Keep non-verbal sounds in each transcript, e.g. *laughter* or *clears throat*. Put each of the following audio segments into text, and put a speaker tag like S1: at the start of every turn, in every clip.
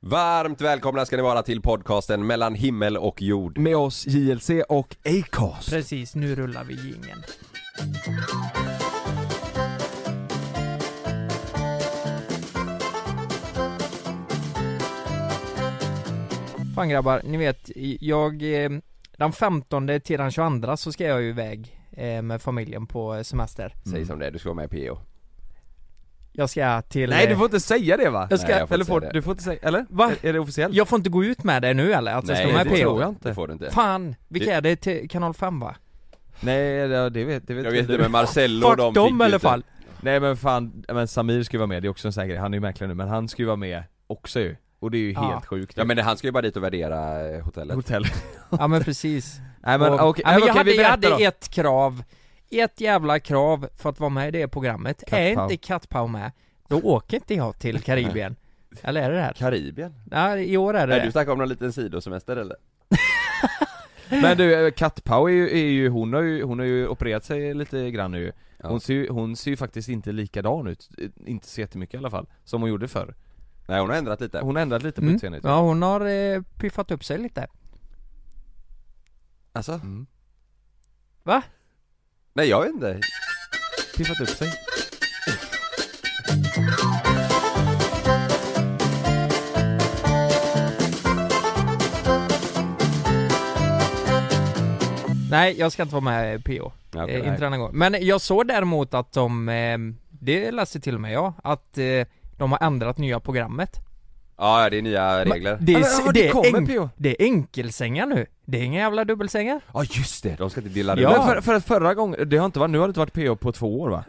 S1: Varmt välkomna ska ni vara till podcasten mellan himmel och jord.
S2: Mm.
S3: Med oss JLC och Acast.
S2: Precis, nu rullar vi jingeln. Fan grabbar, ni vet, jag, eh, den 15 till den 22 så ska jag ju iväg eh, med familjen på semester.
S1: Säg som det är, du ska vara med i PO.
S2: Jag ska till...
S3: Nej du
S2: eh,
S3: får inte säga det va?
S2: Jag ska-
S1: Nej, jag får
S3: eller
S1: inte
S3: får,
S1: säga det.
S3: du får inte säga, eller?
S2: Va?
S3: Är det officiellt?
S2: eh, Jag får inte gå ut med det nu eller? Att jag ska vara
S3: det
S2: med på
S3: tror
S2: er?
S3: jag inte.
S1: Det får du inte.
S2: Fan, vilka är det till kanal 5 va?
S3: Nej det, det vet, det vet
S1: Jag vet
S3: inte du.
S1: inte men Marcello
S2: Fuck
S1: de fick
S2: dem
S1: ju
S2: i alla
S1: inte-
S2: fall!
S3: Nej men fan, men Samir ska ju vara med, det är också en sån här grej, han är ju mäklare nu men han ska ju vara med också ju Och det är ju
S2: Ja.
S3: helt sjukt
S1: Ja men det- han ska ju bara dit och värdera eh, hotellet.
S3: Hotell
S2: Ja men precis.
S3: Nej men
S2: Och-
S3: okej,
S2: ja, men
S3: okej,
S2: jag hade,
S3: vi
S2: jag
S3: berättar
S2: hade
S3: då
S2: ett krav, ett jävla krav för att vara med i det programmet. Är
S3: Kattpaow.
S2: inte Kattpau med, då åker inte jag till Karibien. Eller är det det här?
S1: Karibien?
S2: Nej, i år är det
S1: Nej du
S2: det.
S1: snackar om någon liten sidosemester eller?
S3: Men du, eh, Kat Pau är ju, är ju, hon har ju, hon har ju opererat sig lite grann nu
S1: Ja.
S3: hon, ser ju, hon ser ju faktiskt inte likadan ut, eh, inte så jättemycket i alla fall, som hon gjorde förr
S1: Nej hon har ändrat lite.
S3: Hon har ändrat lite på
S2: Mm.
S3: utseendet
S2: Ja, hon har eh, piffat upp sig lite.
S1: Alltså?
S3: mm.
S2: Va?
S1: Nej jag vet inte.
S3: Piffat upp sig
S2: Nej, jag ska inte vara med i PO.
S1: Ja, okej.
S2: eh, inte denna gång. Men jag såg däremot att de, eh, det läste till och med jag, att eh, de har ändrat nya programmet.
S1: Ja det är nya regler.
S2: Men Det är,
S3: Ja, men, ja, det
S2: det,
S3: kommer,
S2: är
S3: PO.
S2: enk, det är enkelsängar nu. Det är inga jävla dubbelsängar.
S1: Ja just det, de ska inte dela
S2: Ja.
S3: Men för, för att förra gången, det har inte varit, nu har det inte varit PO på två år va?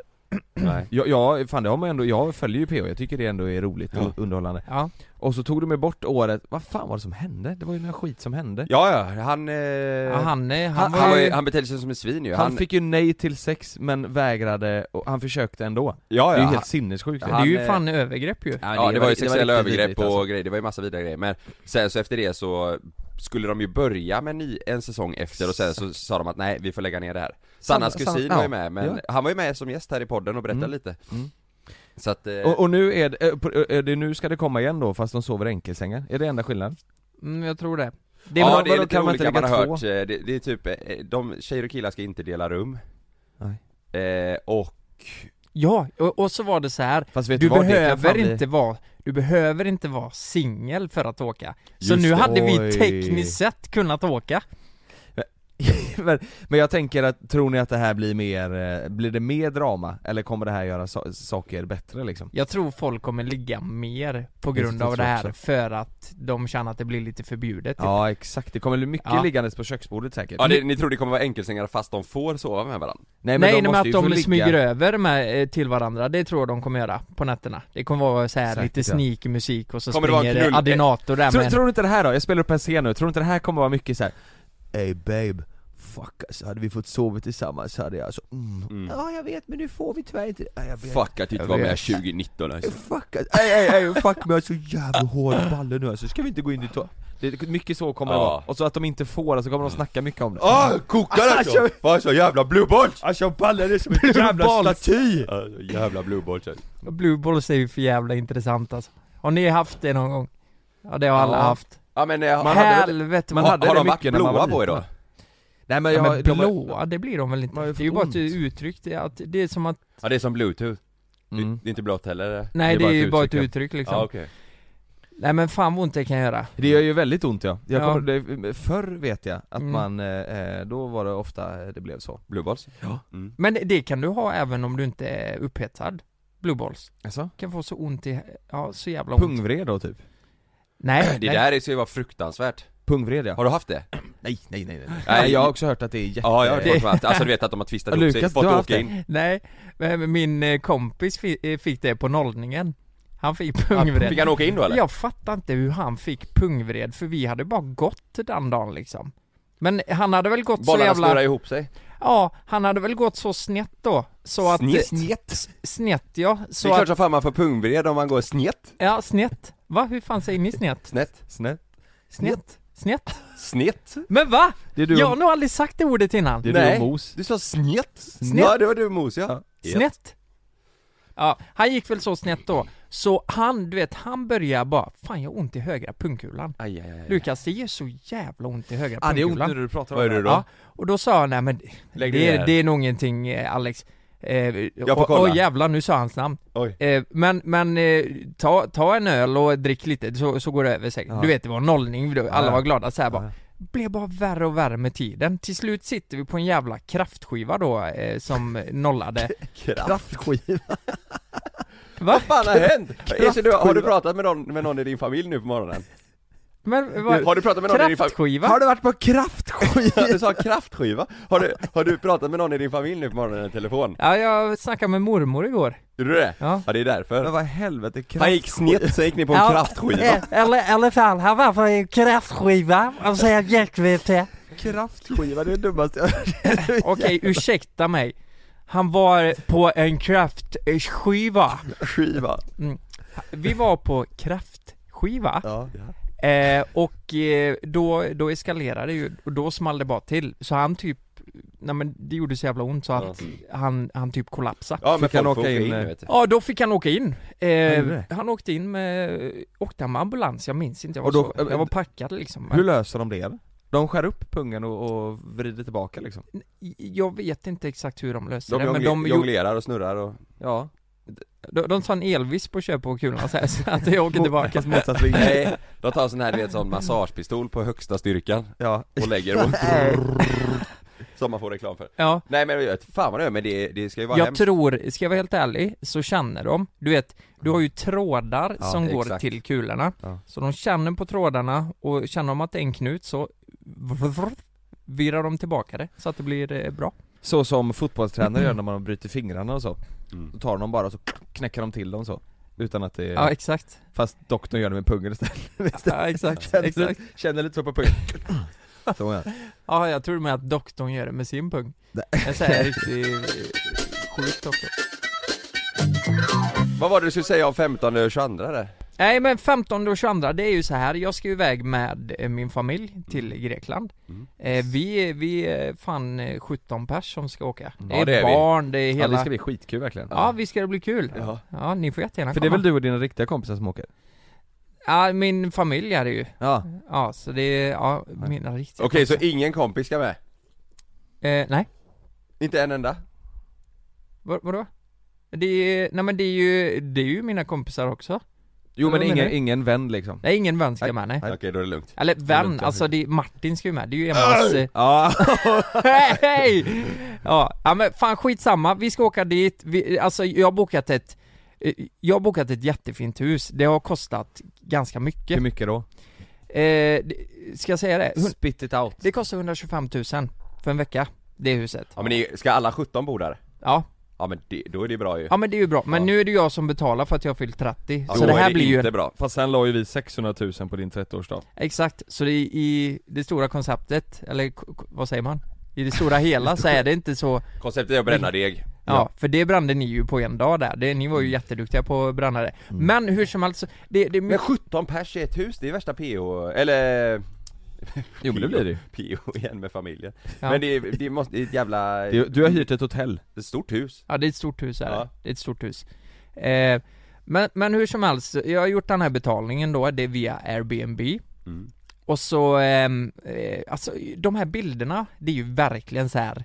S1: Nej.
S3: Jag, jag, fan det har man ändå, jag följer ju PO, jag tycker det ändå är roligt och
S1: Ja.
S3: underhållande
S2: Ja.
S3: Och så tog de ju bort året, vad fan var det som hände? Det var ju någon skit som hände
S1: Ja ja, han... Eh...
S2: Ja, han, eh,
S1: han,
S2: han,
S1: han,
S2: var ju...
S1: var, han betedde sig som ett svin ju.
S3: han, fick ju nej till sex men vägrade, och han försökte ändå
S1: ja,
S3: Det
S1: ja,
S3: är ju
S1: han-
S3: helt sinnessjukt
S2: Det är ju
S1: Han, eh,
S2: fan övergrepp ju.
S1: Ja, det, var ju sexuella
S3: riktigt
S1: övergrepp
S3: vidrigt,
S1: och
S3: alltså.
S1: grejer, det var ju massa vidare grejer men sen så efter det så skulle de ju börja med en ny, en säsong efter och sen så sa de att nej, vi får lägga ner det här Sannas
S3: Sanna-
S1: kusin
S3: Sanna-
S1: var ju
S3: ja,
S1: med, men
S3: ja.
S1: han var ju med som gäst här i podden och berättade
S3: Mm,
S1: lite
S3: mm.
S1: Så att, eh,
S3: och, och nu är det, eh, på- eh, det, nu ska det komma igen då fast de sover i enkelsängar, är det enda skillnaden?
S2: Mm, jag tror det.
S1: det,
S2: det
S1: ja
S3: vadå-
S1: det är
S3: vadå,
S1: lite
S3: kan man inte
S1: olika, man
S3: lägga
S1: har
S3: två?
S1: hört, eh, det, det är typ, eh, de, tjejer och killar ska inte dela rum eh, och
S2: Ja, och, och så var det så här.
S3: Fast vet
S2: Du
S3: du vad, det kan
S2: behöver
S3: fan bli-
S2: inte vara, du behöver inte vara singel för att åka. Så
S1: Just
S2: nu
S1: det.
S2: hade
S3: Oj.
S2: vi tekniskt sett kunnat åka.
S3: *laughs* men, men jag tänker att, tror ni att det här blir mer, eh, blir det mer drama? Eller kommer det här göra so- saker bättre liksom?
S2: Jag tror folk kommer ligga mer på
S3: Det
S2: grund
S3: tror
S2: av det
S3: jag
S2: här
S3: också.
S2: för att de känner att det blir lite förbjudet. typ.
S3: Ja exakt, det kommer bli mycket
S2: Ja.
S3: liggandes på köksbordet säkert
S1: Ja det, ni tror det kommer vara enkelsängar fast de får sova med varandra?
S3: Nej de
S2: Nej, nej, men
S3: måste
S2: att
S3: ju
S2: de
S3: få ligga.
S2: smyger över med, eh, till varandra, det tror jag de kommer göra på nätterna. Det kommer vara så här
S3: Säkert,
S2: lite
S3: ja.
S2: sneaky musik och så
S1: Kommer det vara en
S2: springer det
S1: knull-
S2: Adinator där
S3: Tror,
S2: med en-
S3: tror du inte det här då? Jag spelar upp en scen nu, tror du inte det här kommer vara mycket så här. Hey babe, fuck alltså, hade vi fått sova tillsammans hade jag alltså, mm.
S1: Mm.
S3: Ja jag vet men nu får vi tyvärr inte, ja, jag vet
S1: Fuck att vi inte
S3: Jag
S1: var med
S3: vet.
S1: 2019 alltså.
S3: Fuck alltså, ej ej ej, fuck mig alltså jävla hård balle nu alltså, ska vi inte gå in i to- det, är Mycket så kommer det
S1: Ja.
S3: vara, och så att de inte får, alltså kommer de snacka mycket om det
S1: Ah, kokar alltså! Fan så jävla blueboll!
S3: Alltså ballen är som en
S2: jävla
S3: staty!
S1: Alltså, jävla blueboll
S2: Blue balls är ju för jävla intressant alltså. Har ni haft det någon gång? Ja det har alla
S3: Ja.
S2: haft.
S1: Ja men eh,
S3: Man hade väl-
S2: Helvete
S3: man
S2: vad-
S1: har,
S3: hade
S1: har
S3: det
S1: de varit
S3: mycket när man var
S1: blåa på er då?
S3: liten. Nej men
S2: ja,
S3: jag,
S2: men
S3: de har-
S2: blåa, det blir de väl
S3: De har
S2: inte?
S3: ju
S2: Det är ju
S3: fått
S2: bara ett
S3: ont.
S2: uttryck, det är, att, det är som att
S1: Ja det är som bluetooth,
S3: Mm.
S1: det är inte blått heller
S2: Nej det är ju bara ett
S3: ja.
S2: uttryck liksom
S1: Ja okej
S2: Nej men fan vad ont det kan göra
S3: Det gör ju väldigt ont ja. Jag
S2: Ja.
S3: kommer, det, förr vet jag att
S2: Mm.
S3: man, eh, då var det ofta eh, det blev så.
S1: Blueballs?
S3: Ja.
S1: Mm.
S2: Men det kan du ha även om du inte är upphetsad Blue balls
S3: Alltså?
S2: Kan få så ont i, ja så jävla ont
S3: Pungvred då typ?
S2: Nej,
S1: Det
S2: nej.
S1: där ska ju vara fruktansvärt
S3: Pungvred ja.
S1: Har du haft det?
S3: Nej, nej, nej, nej.
S1: Nej,
S3: *laughs* nej jag har också hört att det är jätte...
S1: Ja jag har
S2: det-
S1: det. haft det, alltså du vet att de har twistat ihop sig,
S3: Lukas,
S1: fått
S3: du har
S1: åka
S3: haft det.
S1: in
S2: Nej, men min eh, kompis fi- eh, fick det på nollningen Han fick pungvred
S1: Fick han åka in då eller?
S2: Jag fattar inte hur han fick pungvred för vi hade bara gått den dagen liksom Men han hade väl gått så
S1: Bollarna
S2: jävla...
S1: snurrar ihop sig
S2: Ja, han hade väl gått så snett då så att...
S1: Snett?
S2: Snett? Snett ja,
S1: Det
S2: så
S1: är klart
S2: att...
S1: som fan man får pungvred om man går snett
S2: Ja, snett. Va? Hur fan säger ni snett?
S1: Snett?
S3: Snett.
S2: Snett? Snett?
S1: Snett?
S2: Men va?
S3: Det är du,
S2: Jag
S3: och-
S2: har nog aldrig sagt det ordet innan.
S3: det är du
S1: Nej.
S3: och Mos.
S1: Du sa snett?
S2: Snett.
S1: Ja det var du Mos ja
S2: Snett. Ja, han gick väl så snett då. Så han, du vet, han börjar bara, fan jag har ont i högra pungkulan
S1: Aj, aj, aj, aj.
S2: Lukas, det gör så jävla ont i högra
S3: Ah, det är ont
S2: pungkulan
S3: när du pratar
S1: Vad
S3: om
S1: är det då?
S2: Ja, och då sa han, nej men
S1: Lägg
S2: det,
S1: ner.
S2: är- det är nog ingenting eh, Alex eh,
S1: får
S2: och-
S1: kolla.
S2: Oj jävlar, nu sa hans namn
S1: Oj.
S2: eh, Men, men eh, ta, ta en öl och drick lite så, så går det över säkert
S3: Ja.
S2: Du vet det var nollning, då, alla
S3: Ja.
S2: var glada så här bara
S3: Ja.
S2: Blev bara värre och värre med tiden Till slut sitter vi på en jävla kraftskiva då eh, som *laughs* nollade
S3: Kraftskiva.
S2: Va?
S1: fan har hänt? Esse, du, har du pratat med någon, med någon i din familj nu på morgonen?
S2: Men vad?
S1: Har du pratat med någon i din familj?
S2: Kraftskiva?
S3: Har du varit på kraftskiva? *laughs*
S1: Du sa kraftskiva? Har du, har du pratat med någon i din familj nu på morgonen i telefon?
S2: Ja, jag snackade med mormor igår
S1: Gjorde du det?
S2: Ja.
S1: Ja det är därför.
S3: Men vad i helvete,
S1: Han gick
S3: kraftskiva?
S1: snett, sen gick ni på en
S2: Ja.
S1: kraftskiva.
S2: Eh, Eller, eller fan, han var på en kraftskiva och säger hjärtvete
S3: Kraftskiva, det är det dummaste jag *laughs* har hört.
S2: Okej, ursäkta mig Han var på en kraftskiva
S1: Skiva.
S2: Vi var på kraftskiva
S3: Ja.
S2: eh, och eh, då, då eskalerade det ju och då small det bara till Så han typ, nej men det gjorde så jävla ont så att han, han typ kollapsade
S1: Ja men
S3: Fick han
S1: folk
S3: åka
S1: åker
S3: in,
S1: in
S3: eh,
S1: nu vet du.
S2: Ja, då fick han åka in.
S3: gjorde
S2: Eh,
S3: det?
S2: han åkte in med, åkte han med ambulans? Jag minns inte, jag var,
S3: Och då- eh,
S2: så, jag var packad liksom
S3: Hur löser de det? De skär upp pungen och, och vrider tillbaka liksom?
S2: Jag vet inte exakt hur de löste
S1: De,
S2: det, men de,
S1: jongle-
S2: gjorde-
S1: jonglerar och snurrar och...
S3: Ja,
S2: de, de sa en Elvis på köp på kulan så, här, så att jag åker tillbaka
S3: fast motsatt vinkel.
S1: Nej, de tar en sån här, du vet, sån massagepistol på högsta styrkan
S3: *laughs* Ja.
S1: och lägger
S2: *laughs*
S1: och... Som man får reklam för.
S2: Ja,
S1: Nej men jag vet, fan vad det är, men det, det ska ju vara
S2: jag
S1: hemskt.
S2: tror, ska jag vara helt ärlig, så känner de, du vet, du har ju trådar
S3: Ja,
S2: som går
S1: exakt.
S2: till kulorna
S3: Ja.
S2: Så de känner på trådarna och känner de att det är en knut så virrar de tillbaka det så att det blir eh, bra
S3: Så som fotbollstränare gör när man bryter fingrarna och så,
S1: Mm.
S3: då tar de dem bara och så knäcker de till dem så Utan att det är...
S2: Ja, exakt
S3: Fast doktorn gör det med pungen istället Visst?
S2: Ja, exakt,
S3: Känner,
S2: exakt
S3: Lite, känner lite så på pungen Så ja.
S2: Ja, jag tror med att doktorn gör det med sin pung
S3: Nej.
S2: Jag säger riktigt eh, sjuk doktor
S1: Vad var det du skulle säga om 15 och 22 där?
S2: Nej men 15 och 22, det är ju så här. jag ska ju iväg med eh, min familj till Grekland
S1: Mm.
S2: eh, Vi är, vi är fan eh, 17 pers som ska åka
S3: Ja,
S2: Det är,
S1: det är vi.
S2: barn, det är
S3: ja,
S2: hela
S3: det
S2: Ja,
S3: ska bli skitkul verkligen
S2: visst ska det bli kul? Ja, ni får jättegärna
S3: För det
S2: komma
S3: är väl du och dina riktiga kompisar som åker?
S2: Ja, min familj är det ju
S3: Ja
S2: Ja, så det är, ja, mina riktiga
S1: Okej, så
S2: kompisar.
S1: ingen kompis ska med?
S2: eh, Nej,
S1: Inte en enda?
S2: Vad, vadå? Det är, nej men det är ju, det är ju mina kompisar också
S3: Jo men
S2: Vad menar
S3: ingen,
S2: du?
S3: ingen vän liksom
S2: Nej ingen vän ska med nej
S1: Okej, då är det lugnt.
S2: Eller
S3: Det är lugnt,
S2: vän,
S3: jag
S2: alltså det är, Martin ska ju med, det är ju Emmas eh,
S3: *laughs* Ja,
S2: *laughs* Hej! Ja, ja men fan skitsamma, vi ska åka dit, vi, alltså jag har bokat ett eh, jag har bokat ett jättefint hus, det har kostat ganska mycket.
S1: Mm.
S3: hur mycket då?
S2: Eh, det- ska jag säga det? Hun-
S3: Spit it out
S2: Det kostar 125 000 för en vecka, det huset.
S1: Ja men ni, ska alla 17 bo där?
S2: Ja,
S1: Ja men det, då är det bra ju.
S2: ja men det är ju bra. Men
S1: Ja.
S2: nu är det jag som betalar för att jag har fyllt 30,
S1: Ja,
S2: så
S1: då
S2: det
S1: är
S2: här blir ju...
S1: inte bra.
S3: Fast sen la ju vi 600 000 på din 30-årsdag
S2: Exakt, så det är i det stora konceptet, eller k- k- vad säger man? I det stora hela så är det inte så
S1: Konceptet är att bränna deg.
S2: Ja, för det brände ni ju på en dag där, det, ni var ju jätteduktiga på att bränna det Men hur som helst, så- det, det,
S1: Men 17 pers i ett hus, det är värsta PO, eller... *laughs*
S3: Jo, men det blir det ju.
S1: PO igen med familjen.
S2: Ja.
S1: Men det, är- det, måste, det är ett jävla...
S3: Det- Du har hyrt ett hotell
S1: ett stort hus.
S2: ja det är ett stort hus här,
S1: Ja.
S2: det är ett stort hus eh, men, men hur som helst, jag har gjort den här betalningen då, det är via Airbnb
S1: Mm.
S2: Och så, ehm, eh, alltså de här bilderna, det är ju verkligen så här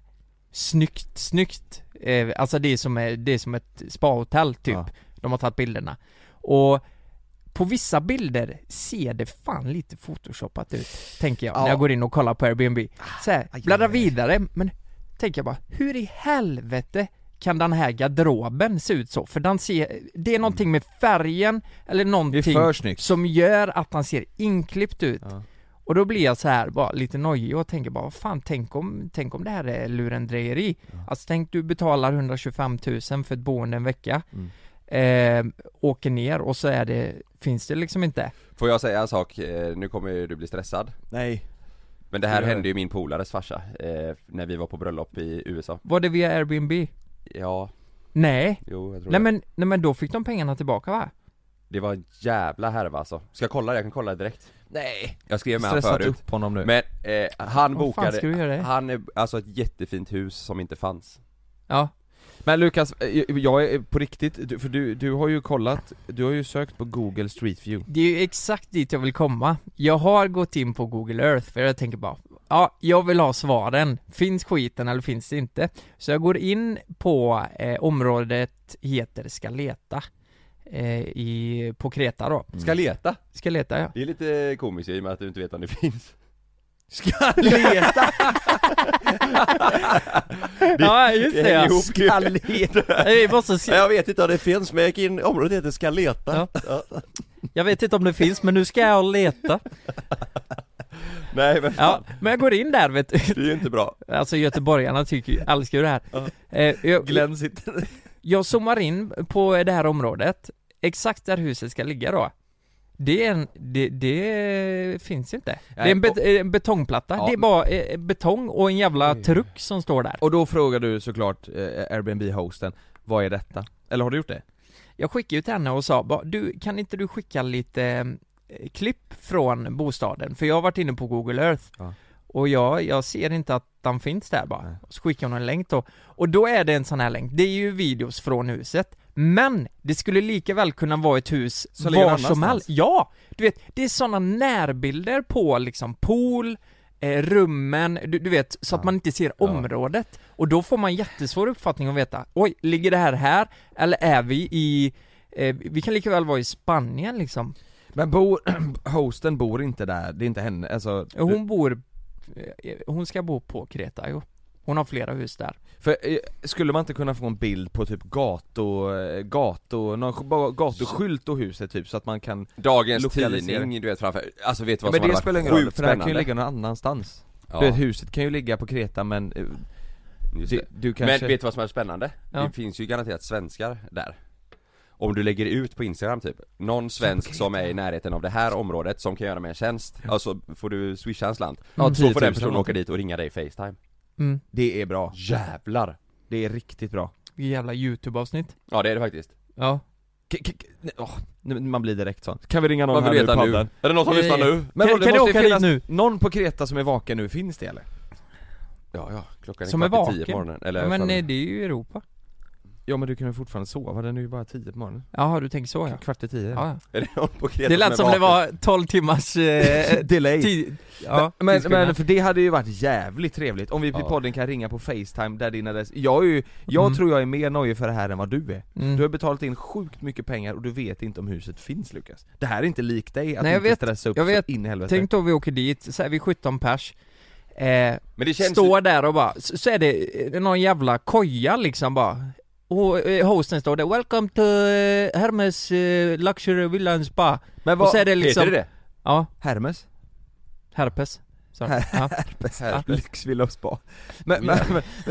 S2: snyggt, snyggt eh, Alltså det är som, eh, det är som ett spahotell typ,
S3: Ja.
S2: de har tagit bilderna Och på vissa bilder ser det fan lite photoshopat ut, tänker jag,
S3: Ja. Ah,
S2: när jag går in och kollar på Airbnb så här,
S3: aj,
S2: bläddrar
S3: aj.
S2: vidare, men tänker jag bara, hur i helvete kan den här garderoben se ut så? För den ser, det är någonting med färgen, eller
S3: Det är
S2: någonting
S3: för snyggt
S2: som gör att han ser inklippt ut.
S3: Ja.
S2: Och då blir jag så här bara lite nojig och tänker bara, vad fan tänk om, tänk om det här är lurendrejeri? Alltså tänk du betalar 125 000 för ett boende en vecka,
S3: Mm.
S2: eh, åker ner och så är det, finns det liksom inte.
S1: Får jag säga en sak, Eh, nu kommer ju du bli stressad.
S3: Nej
S1: Men det här
S3: Gör det.
S1: hände ju min polares farsa, eh, när vi var på bröllop i USA.
S2: Var det via Airbnb?
S1: Ja,
S2: Nej.
S1: jo jag tror
S2: Nej
S1: det.
S2: men, nej men då fick de pengarna tillbaka va?
S1: Det var en jävla härva alltså. Ska jag kolla? Jag kan kolla direkt.
S3: Nej
S1: Jag skrev med honom
S3: Stressat
S1: förut.
S3: upp honom nu
S1: Men eh, han
S2: Vad fan ska du
S1: bokade,
S2: göra det?
S1: han, är- alltså ett jättefint hus som inte fanns.
S2: Ja.
S3: Men Lukas, eh, jag är på riktigt, du- för du, du har ju kollat, du har ju sökt på google street view
S2: Det är ju exakt dit jag vill komma. Jag har gått in på Google Earth för jag tänker bara, ja, jag vill ha svaren. Finns skiten eller finns det inte? Så jag går in på eh, området heter Skaleta eh, i, på Kreta då.
S3: Mm.
S1: Ska
S3: *laughs*
S1: leta?
S2: Skaleta ja.
S1: Det är lite komiskt i och med att du inte vet om det finns
S3: Ska leta!
S2: ja, just det ja.
S1: Ska leta?
S2: Nej, Vi måste
S1: *laughs*
S2: se.
S1: Jag vet inte om det finns men jag gick in, området heter Ska leta
S2: Jag vet inte om det finns men nu ska jag leta.
S1: Nej men
S2: Ja,
S1: fan,
S2: men jag går in där vet du.
S1: det är ju inte bra
S2: Alltså göteborgarna tycker ju, älskar ju det här.
S1: Ja.
S2: Eh, jag-
S3: Glenn sitter
S2: Jag zoomar in på det här området, exakt där huset ska ligga då. Det, är en, det, det finns inte. Det är en, bet, en betongplatta,
S3: Ja,
S2: det är
S3: men-
S2: bara eh, betong och en jävla
S1: Oj.
S2: truck som står där.
S3: Och då frågar du såklart eh, Airbnb-hosten, vad är detta? Eller har du gjort det?
S2: Jag skickade ut henne och sa bara, du, kan inte du skicka lite eh, klipp från bostaden? För jag har varit inne på Google Earth
S3: Ja.
S2: och jag, jag ser inte att den finns där
S3: Nej.
S2: bara. Så skickade hon en länk då. Och då är det en sån här länk, det är ju videos från huset. Men det skulle lika väl kunna vara ett hus
S3: Som ligger
S2: var
S3: någon
S2: som helst.
S3: annanstans.
S2: Ja! Du vet, det är såna närbilder på liksom pool, eh, rummen, du, du vet, så att
S3: Ja.
S2: man inte ser
S3: Ja.
S2: området. Och då får man jättesvår uppfattning att veta, oj, ligger det här här? Eller är vi i, eh, vi kan lika väl vara i Spanien liksom.
S3: Men bor, *clears throat* hosten bor inte där, det är inte henne, alltså
S2: Och Hon bor, eh, hon ska bo på Kreta, jo. Hon har flera hus där.
S3: För eh, skulle man inte kunna få en bild på typ gato, eh, gato, någon sk- bara gatuskylt och huset typ så att man kan
S1: Dagens
S3: Lokalisering.
S1: tidning, du vet framför, alltså vet du
S3: ja,
S1: vad
S3: Men
S1: som
S3: det
S1: hade
S3: spelar
S1: varit
S3: ingen roll,
S1: sjukt
S3: för det här kan ju
S1: spännande?
S3: ligga någon annanstans
S1: Ja,
S3: du vet, Huset kan ju ligga på Kreta men eh,
S1: just
S3: du,
S1: det.
S3: du
S1: Men
S3: kanske
S1: vet du vad som är spännande?
S2: Ja.
S1: Det finns ju garanterat svenskar där om du lägger ut på instagram typ, någon svensk som är i närheten av det här området som kan göra mig en tjänst, alltså får du swisha en slant
S3: Ja,
S1: Så
S3: 10
S1: får
S3: 000
S1: den personen åka dit och ringa dig i facetime
S2: Mm.
S3: Det är bra,
S1: Jävlar!
S3: det är riktigt bra
S2: Vilket jävla youtube-avsnitt.
S1: Ja det är det faktiskt
S2: Ja.
S3: K- k- k- nej, åh, nu- man blir direkt sån, kan vi ringa någon
S1: Vad
S3: här
S1: vill du
S3: nu i
S1: veta nu?
S3: podden?
S1: Är det någon som
S2: Eh,
S1: lyssnar nu?
S3: Men vadå,
S2: Kan- kan
S3: det
S2: du
S3: måste
S2: åka
S3: ju
S2: dit
S3: finnas
S2: nu?
S3: någon på Kreta som är vaken nu, finns det eller?
S1: Ja, ja, klockan är
S2: Som
S1: kvart
S2: är
S1: i tio på
S2: vaken.
S1: morgonen, eller
S2: ja men
S1: fem-
S2: eh, det är ju Europa.
S3: Ja men du kan ju fortfarande sova, den är ju bara 10 på morgonen
S2: Jaha, du tänker så ja.
S3: Kvart i 10
S2: ja. ja.
S1: Är det någon på Kreta
S2: Det lät som
S1: är
S2: det
S1: vaken?
S2: var 12 timmars eh,
S3: *laughs* Delay
S2: tid. Ja,
S3: men,
S2: tidsskillnad.
S3: men för det hade ju varit jävligt trevligt om vi i
S1: Ja.
S3: podden kan ringa på facetime där din adress, jag är ju, jag
S2: Mm.
S3: tror jag är mer nöjd för det här än vad du är
S2: Mm.
S3: Du har betalat in sjukt mycket pengar och du vet inte om huset finns Lukas Det här är inte likt dig, att
S2: Nej, jag
S3: inte
S2: vet.
S3: stressa upp
S2: Jag
S3: så
S2: vet.
S3: in i helvete
S2: Tänk då vi åker dit, så är vi 17 pers eh,
S1: Men det känns
S2: Står där och bara, så, så är det eh, någon jävla koja liksom bara och eh, hosten står där 'Welcome to eh, Hermes eh, Luxury Villa and Spa'
S3: Men
S2: Och så är
S3: vad,
S2: det liksom,
S1: Heter det
S2: ja,
S3: Hermes?
S2: herpes Sorry. Ja.
S1: Herpes.
S3: Lyxvilla och spa Men, men, men
S2: *laughs*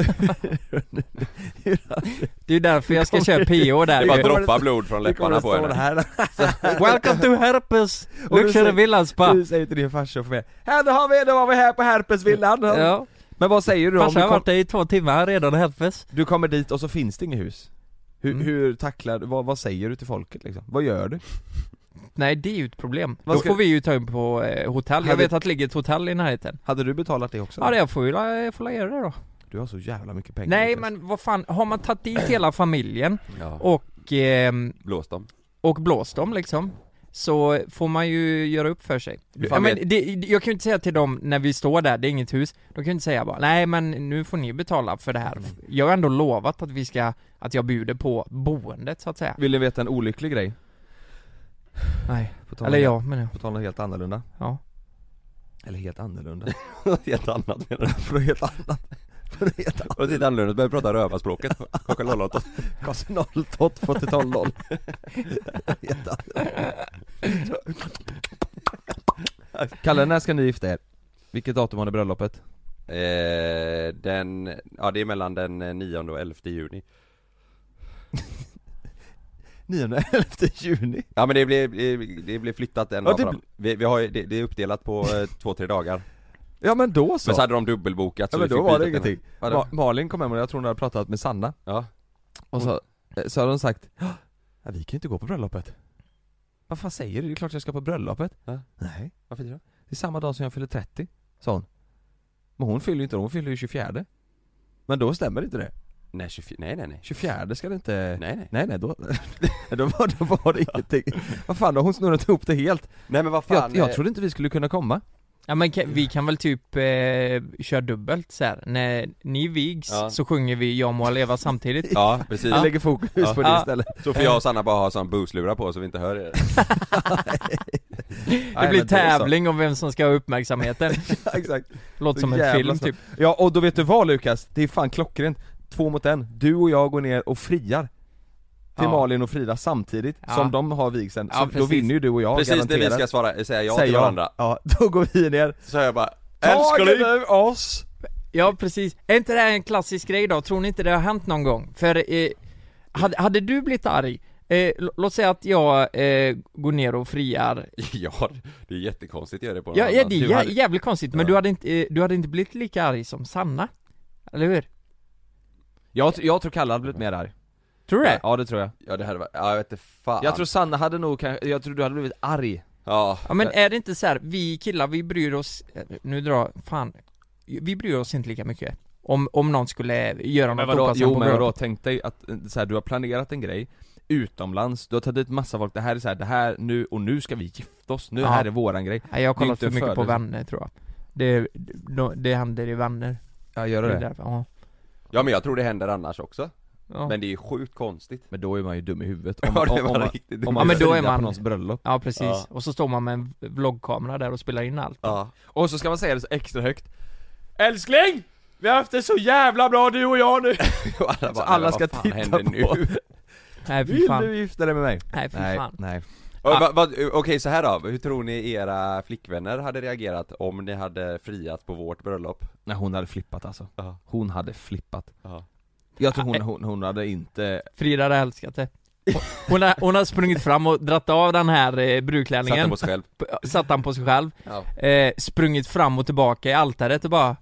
S2: Det är därför jag ska köra PO
S1: det?
S2: där
S1: Det
S3: kommer
S1: bara
S2: ju.
S3: droppa
S1: droppar blod från
S3: det kommer
S1: läpparna på
S3: att stå det
S1: henne
S2: *laughs*
S3: här
S2: Welcome to *laughs* herpes
S3: Och du
S2: Luxury
S3: säger-
S2: Villa and Spa
S3: Du säger till din farsa och får med Här då har vi, då var vi här på Herpesvillan
S2: Ja,
S3: Men vad säger du då? om
S2: farsan
S3: du,
S2: har
S3: kom,
S2: varit där i två timmar redan herpes
S3: du kommer dit och så finns det inget hus? Hur,
S2: Mm.
S3: hur tacklar du, vad, vad säger du till folket liksom? Vad gör du?
S2: Nej det är ju ett problem,
S3: Vad
S2: då
S3: ska-
S2: får vi ju ta in på eh, hotell, jag
S3: Hade-
S2: vet att det ligger ett hotell i närheten
S3: Hade du betalat det också?
S2: Ja det jag får ju la- jag får la göra det då
S3: Du har så jävla mycket pengar
S2: Nej
S3: Lukas.
S2: men vad fan, har man tagit dit hela familjen
S1: Ja,
S2: och, ehm,
S1: blås dem *laughs*
S2: och blåst dem liksom Så får man ju göra upp för sig
S3: Hur
S2: ja,
S3: fan
S2: men
S3: vet-
S2: det, Jag kan ju inte säga till dem när vi står där, det är inget hus De kan ju inte säga bara, nej men nu får ni betala för det här Jag har ändå lovat att vi ska, att jag bjuder på boendet så att säga
S3: Vill du veta en olycklig grej?
S2: Nej,
S3: På tal om-
S2: eller jag men jag,
S3: På tal om något helt annorlunda
S2: ja
S3: Eller helt
S2: *laughs*
S3: annorlunda?
S1: Något helt annat menar du?
S3: För helt annat För helt annat
S1: Något helt annorlunda, börjar prata rövarspråket klockan 08
S3: Gas 08 40 00 Helt annat. Kalle, när ska ni gifta er? Vilket datum har ni bröllopet?
S1: eh, Den, ja det är mellan den eh, 9 och 11 juni
S3: *laughs* 9-11 juni
S1: Ja men det blir, det- det blir flyttat en
S3: Ja,
S1: dag
S3: det
S1: fram vi, vi har ju, det, det är uppdelat på eh, två, tre
S3: *laughs*
S1: dagar
S3: Ja men då så!
S1: Men så hade de dubbelbokat så
S3: ja, men
S1: vi
S3: då
S1: fick
S3: var det
S1: byta
S3: ingenting.
S1: till- Vadå?
S3: Ma- Malin kom hem och jag tror hon hade pratat med Sanna
S1: Ja,
S3: och så, eh, så hade hon sagt "Ja, vi kan ju inte gå på bröllopet Vad fan säger du? Det är klart jag ska på bröllopet
S1: Ja.
S3: Nej,
S1: varför då?
S3: det är samma dag som jag fyller 30, sa hon Men hon fyller ju inte, hon fyller ju 24 Men då stämmer inte det
S1: Nej 24, nej nej nej
S3: 24 ska det inte...
S1: Nej nej
S3: Nej nej, då, *laughs* då, var, då var det ingenting. Vad fan, då har hon snurrat ihop det helt.
S1: Nej men vad fan
S3: Jag, jag
S1: eh,
S3: trodde inte vi skulle kunna komma.
S2: Ja men kan, vi kan väl typ eh, köra dubbelt så här. när ni vigs
S1: Ja.
S2: så sjunger vi 'Jag må leva' samtidigt
S1: Ja precis,
S3: Vi lägger fokus
S1: Ja.
S3: på det
S2: Ja.
S3: istället.
S1: så får jag och Sanna bara ha sån booslurar på så vi inte hör er
S2: Det
S3: *laughs* Nej,
S2: blir
S3: men då så.
S2: tävling om vem som ska ha uppmärksamheten
S3: *laughs* Ja, Exakt.
S2: Låter som en
S3: Jävla
S2: film
S3: snabbt.
S2: typ
S3: Ja och då vet du vad Lukas, det är fan klockrent. Två mot en, du och jag går ner och friar. Till
S2: Ja.
S3: Malin och Frida samtidigt
S2: Ja.
S3: som de har vigseln,
S2: Ja,
S3: så då
S2: precis.
S3: vinner ju du och jag
S1: Precis när
S3: garanterat.
S1: vi ska svara, säga ja
S3: Säger
S1: till
S3: jag.
S1: varandra
S3: Ja, *laughs* då går vi ner.
S1: Så hör jag bara
S3: Tagen
S1: Älskling!
S3: över oss!
S2: Ja precis, är inte det här en klassisk grej då? Tror ni inte det har hänt någon gång? För, eh, hade, hade du blivit arg? Eh, l- låt säga att jag eh, går ner och friar
S1: *laughs* Ja, det är jättekonstigt att göra det på någon
S2: Ja, ja
S1: annan.
S2: det är
S1: Du
S2: jä-
S1: hade-
S2: jävligt konstigt, men
S1: Ja.
S2: du, hade inte, eh, du hade inte blivit lika arg som Sanna? Eller hur?
S3: Jag, jag tror Kalle hade blivit mer arg.
S2: Tror du det?
S3: Ja det tror jag.
S1: Ja det hade varit, ja jag vet inte fan
S3: Jag tror Sanna hade nog kanske, jag tror du hade blivit arg.
S1: Ja,
S2: Ja men är det inte så här, vi killar vi bryr oss, eh, nu drar, fan, vi bryr oss inte lika mycket om, om någon skulle göra något
S3: Jo
S2: på
S3: men vadå,
S2: bröllopet.
S3: tänk dig att eh, så här, du har planerat en grej utomlands, du har tagit dit massa folk, det här är så här, det här nu och nu ska vi gifta oss, nu
S2: Ja.
S3: här är våran grej.
S2: Nej jag har
S3: Det är
S2: kollat
S3: inte liksom.
S2: för mycket på
S3: fördel.
S2: vänner tror jag Det, det, det händer i vänner
S3: Ja gör
S2: Det är
S3: det.
S2: därför, ja.
S1: ja men jag tror det händer annars också
S2: Ja.
S1: Men det är ju sjukt konstigt
S3: Men då är man ju dum i *laughs* huvudet om,
S1: *laughs* Ja
S3: om,
S1: det
S3: om,
S1: var
S3: man-
S1: riktigt
S3: om
S2: Ja,
S3: man
S2: men då är
S3: friar
S2: man-
S3: på någons bröllop.
S2: Ja precis,
S1: Ja.
S2: och så står man med en vloggkamera där och spelar in allt
S1: Ja, *laughs*
S3: Och så ska man säga det så extra högt Älskling! Vi har haft det så jävla bra du och *laughs* jag nu!
S1: Och alla, bara,
S3: så Alltså, alla
S1: "Men
S3: ska
S1: vad fan
S3: titta
S1: händer
S3: på
S1: nu?
S3: *laughs* nu.
S2: Nej fy
S3: Vill
S2: fan,
S3: du gifta dig med mig?
S2: nej fy
S3: Nej,
S2: fan
S3: nej
S1: Och vad- vad- Okej så här då, hur tror ni era flickvänner hade reagerat om ni hade friat på vårt bröllop?
S3: Nej hon hade flippat alltså,
S1: Ja.
S3: hon hade flippat
S1: Ja.
S3: Jag tror hon, hon, hon hade inte
S2: Frida hade älskat det hon har, hon har sprungit fram och dratt av den här eh,
S1: Satt den
S2: brudklänningen,
S1: på sig själv?
S2: p- satt han på sig själv
S1: Ja.
S2: eh, sprungit fram och tillbaka i altaret och bara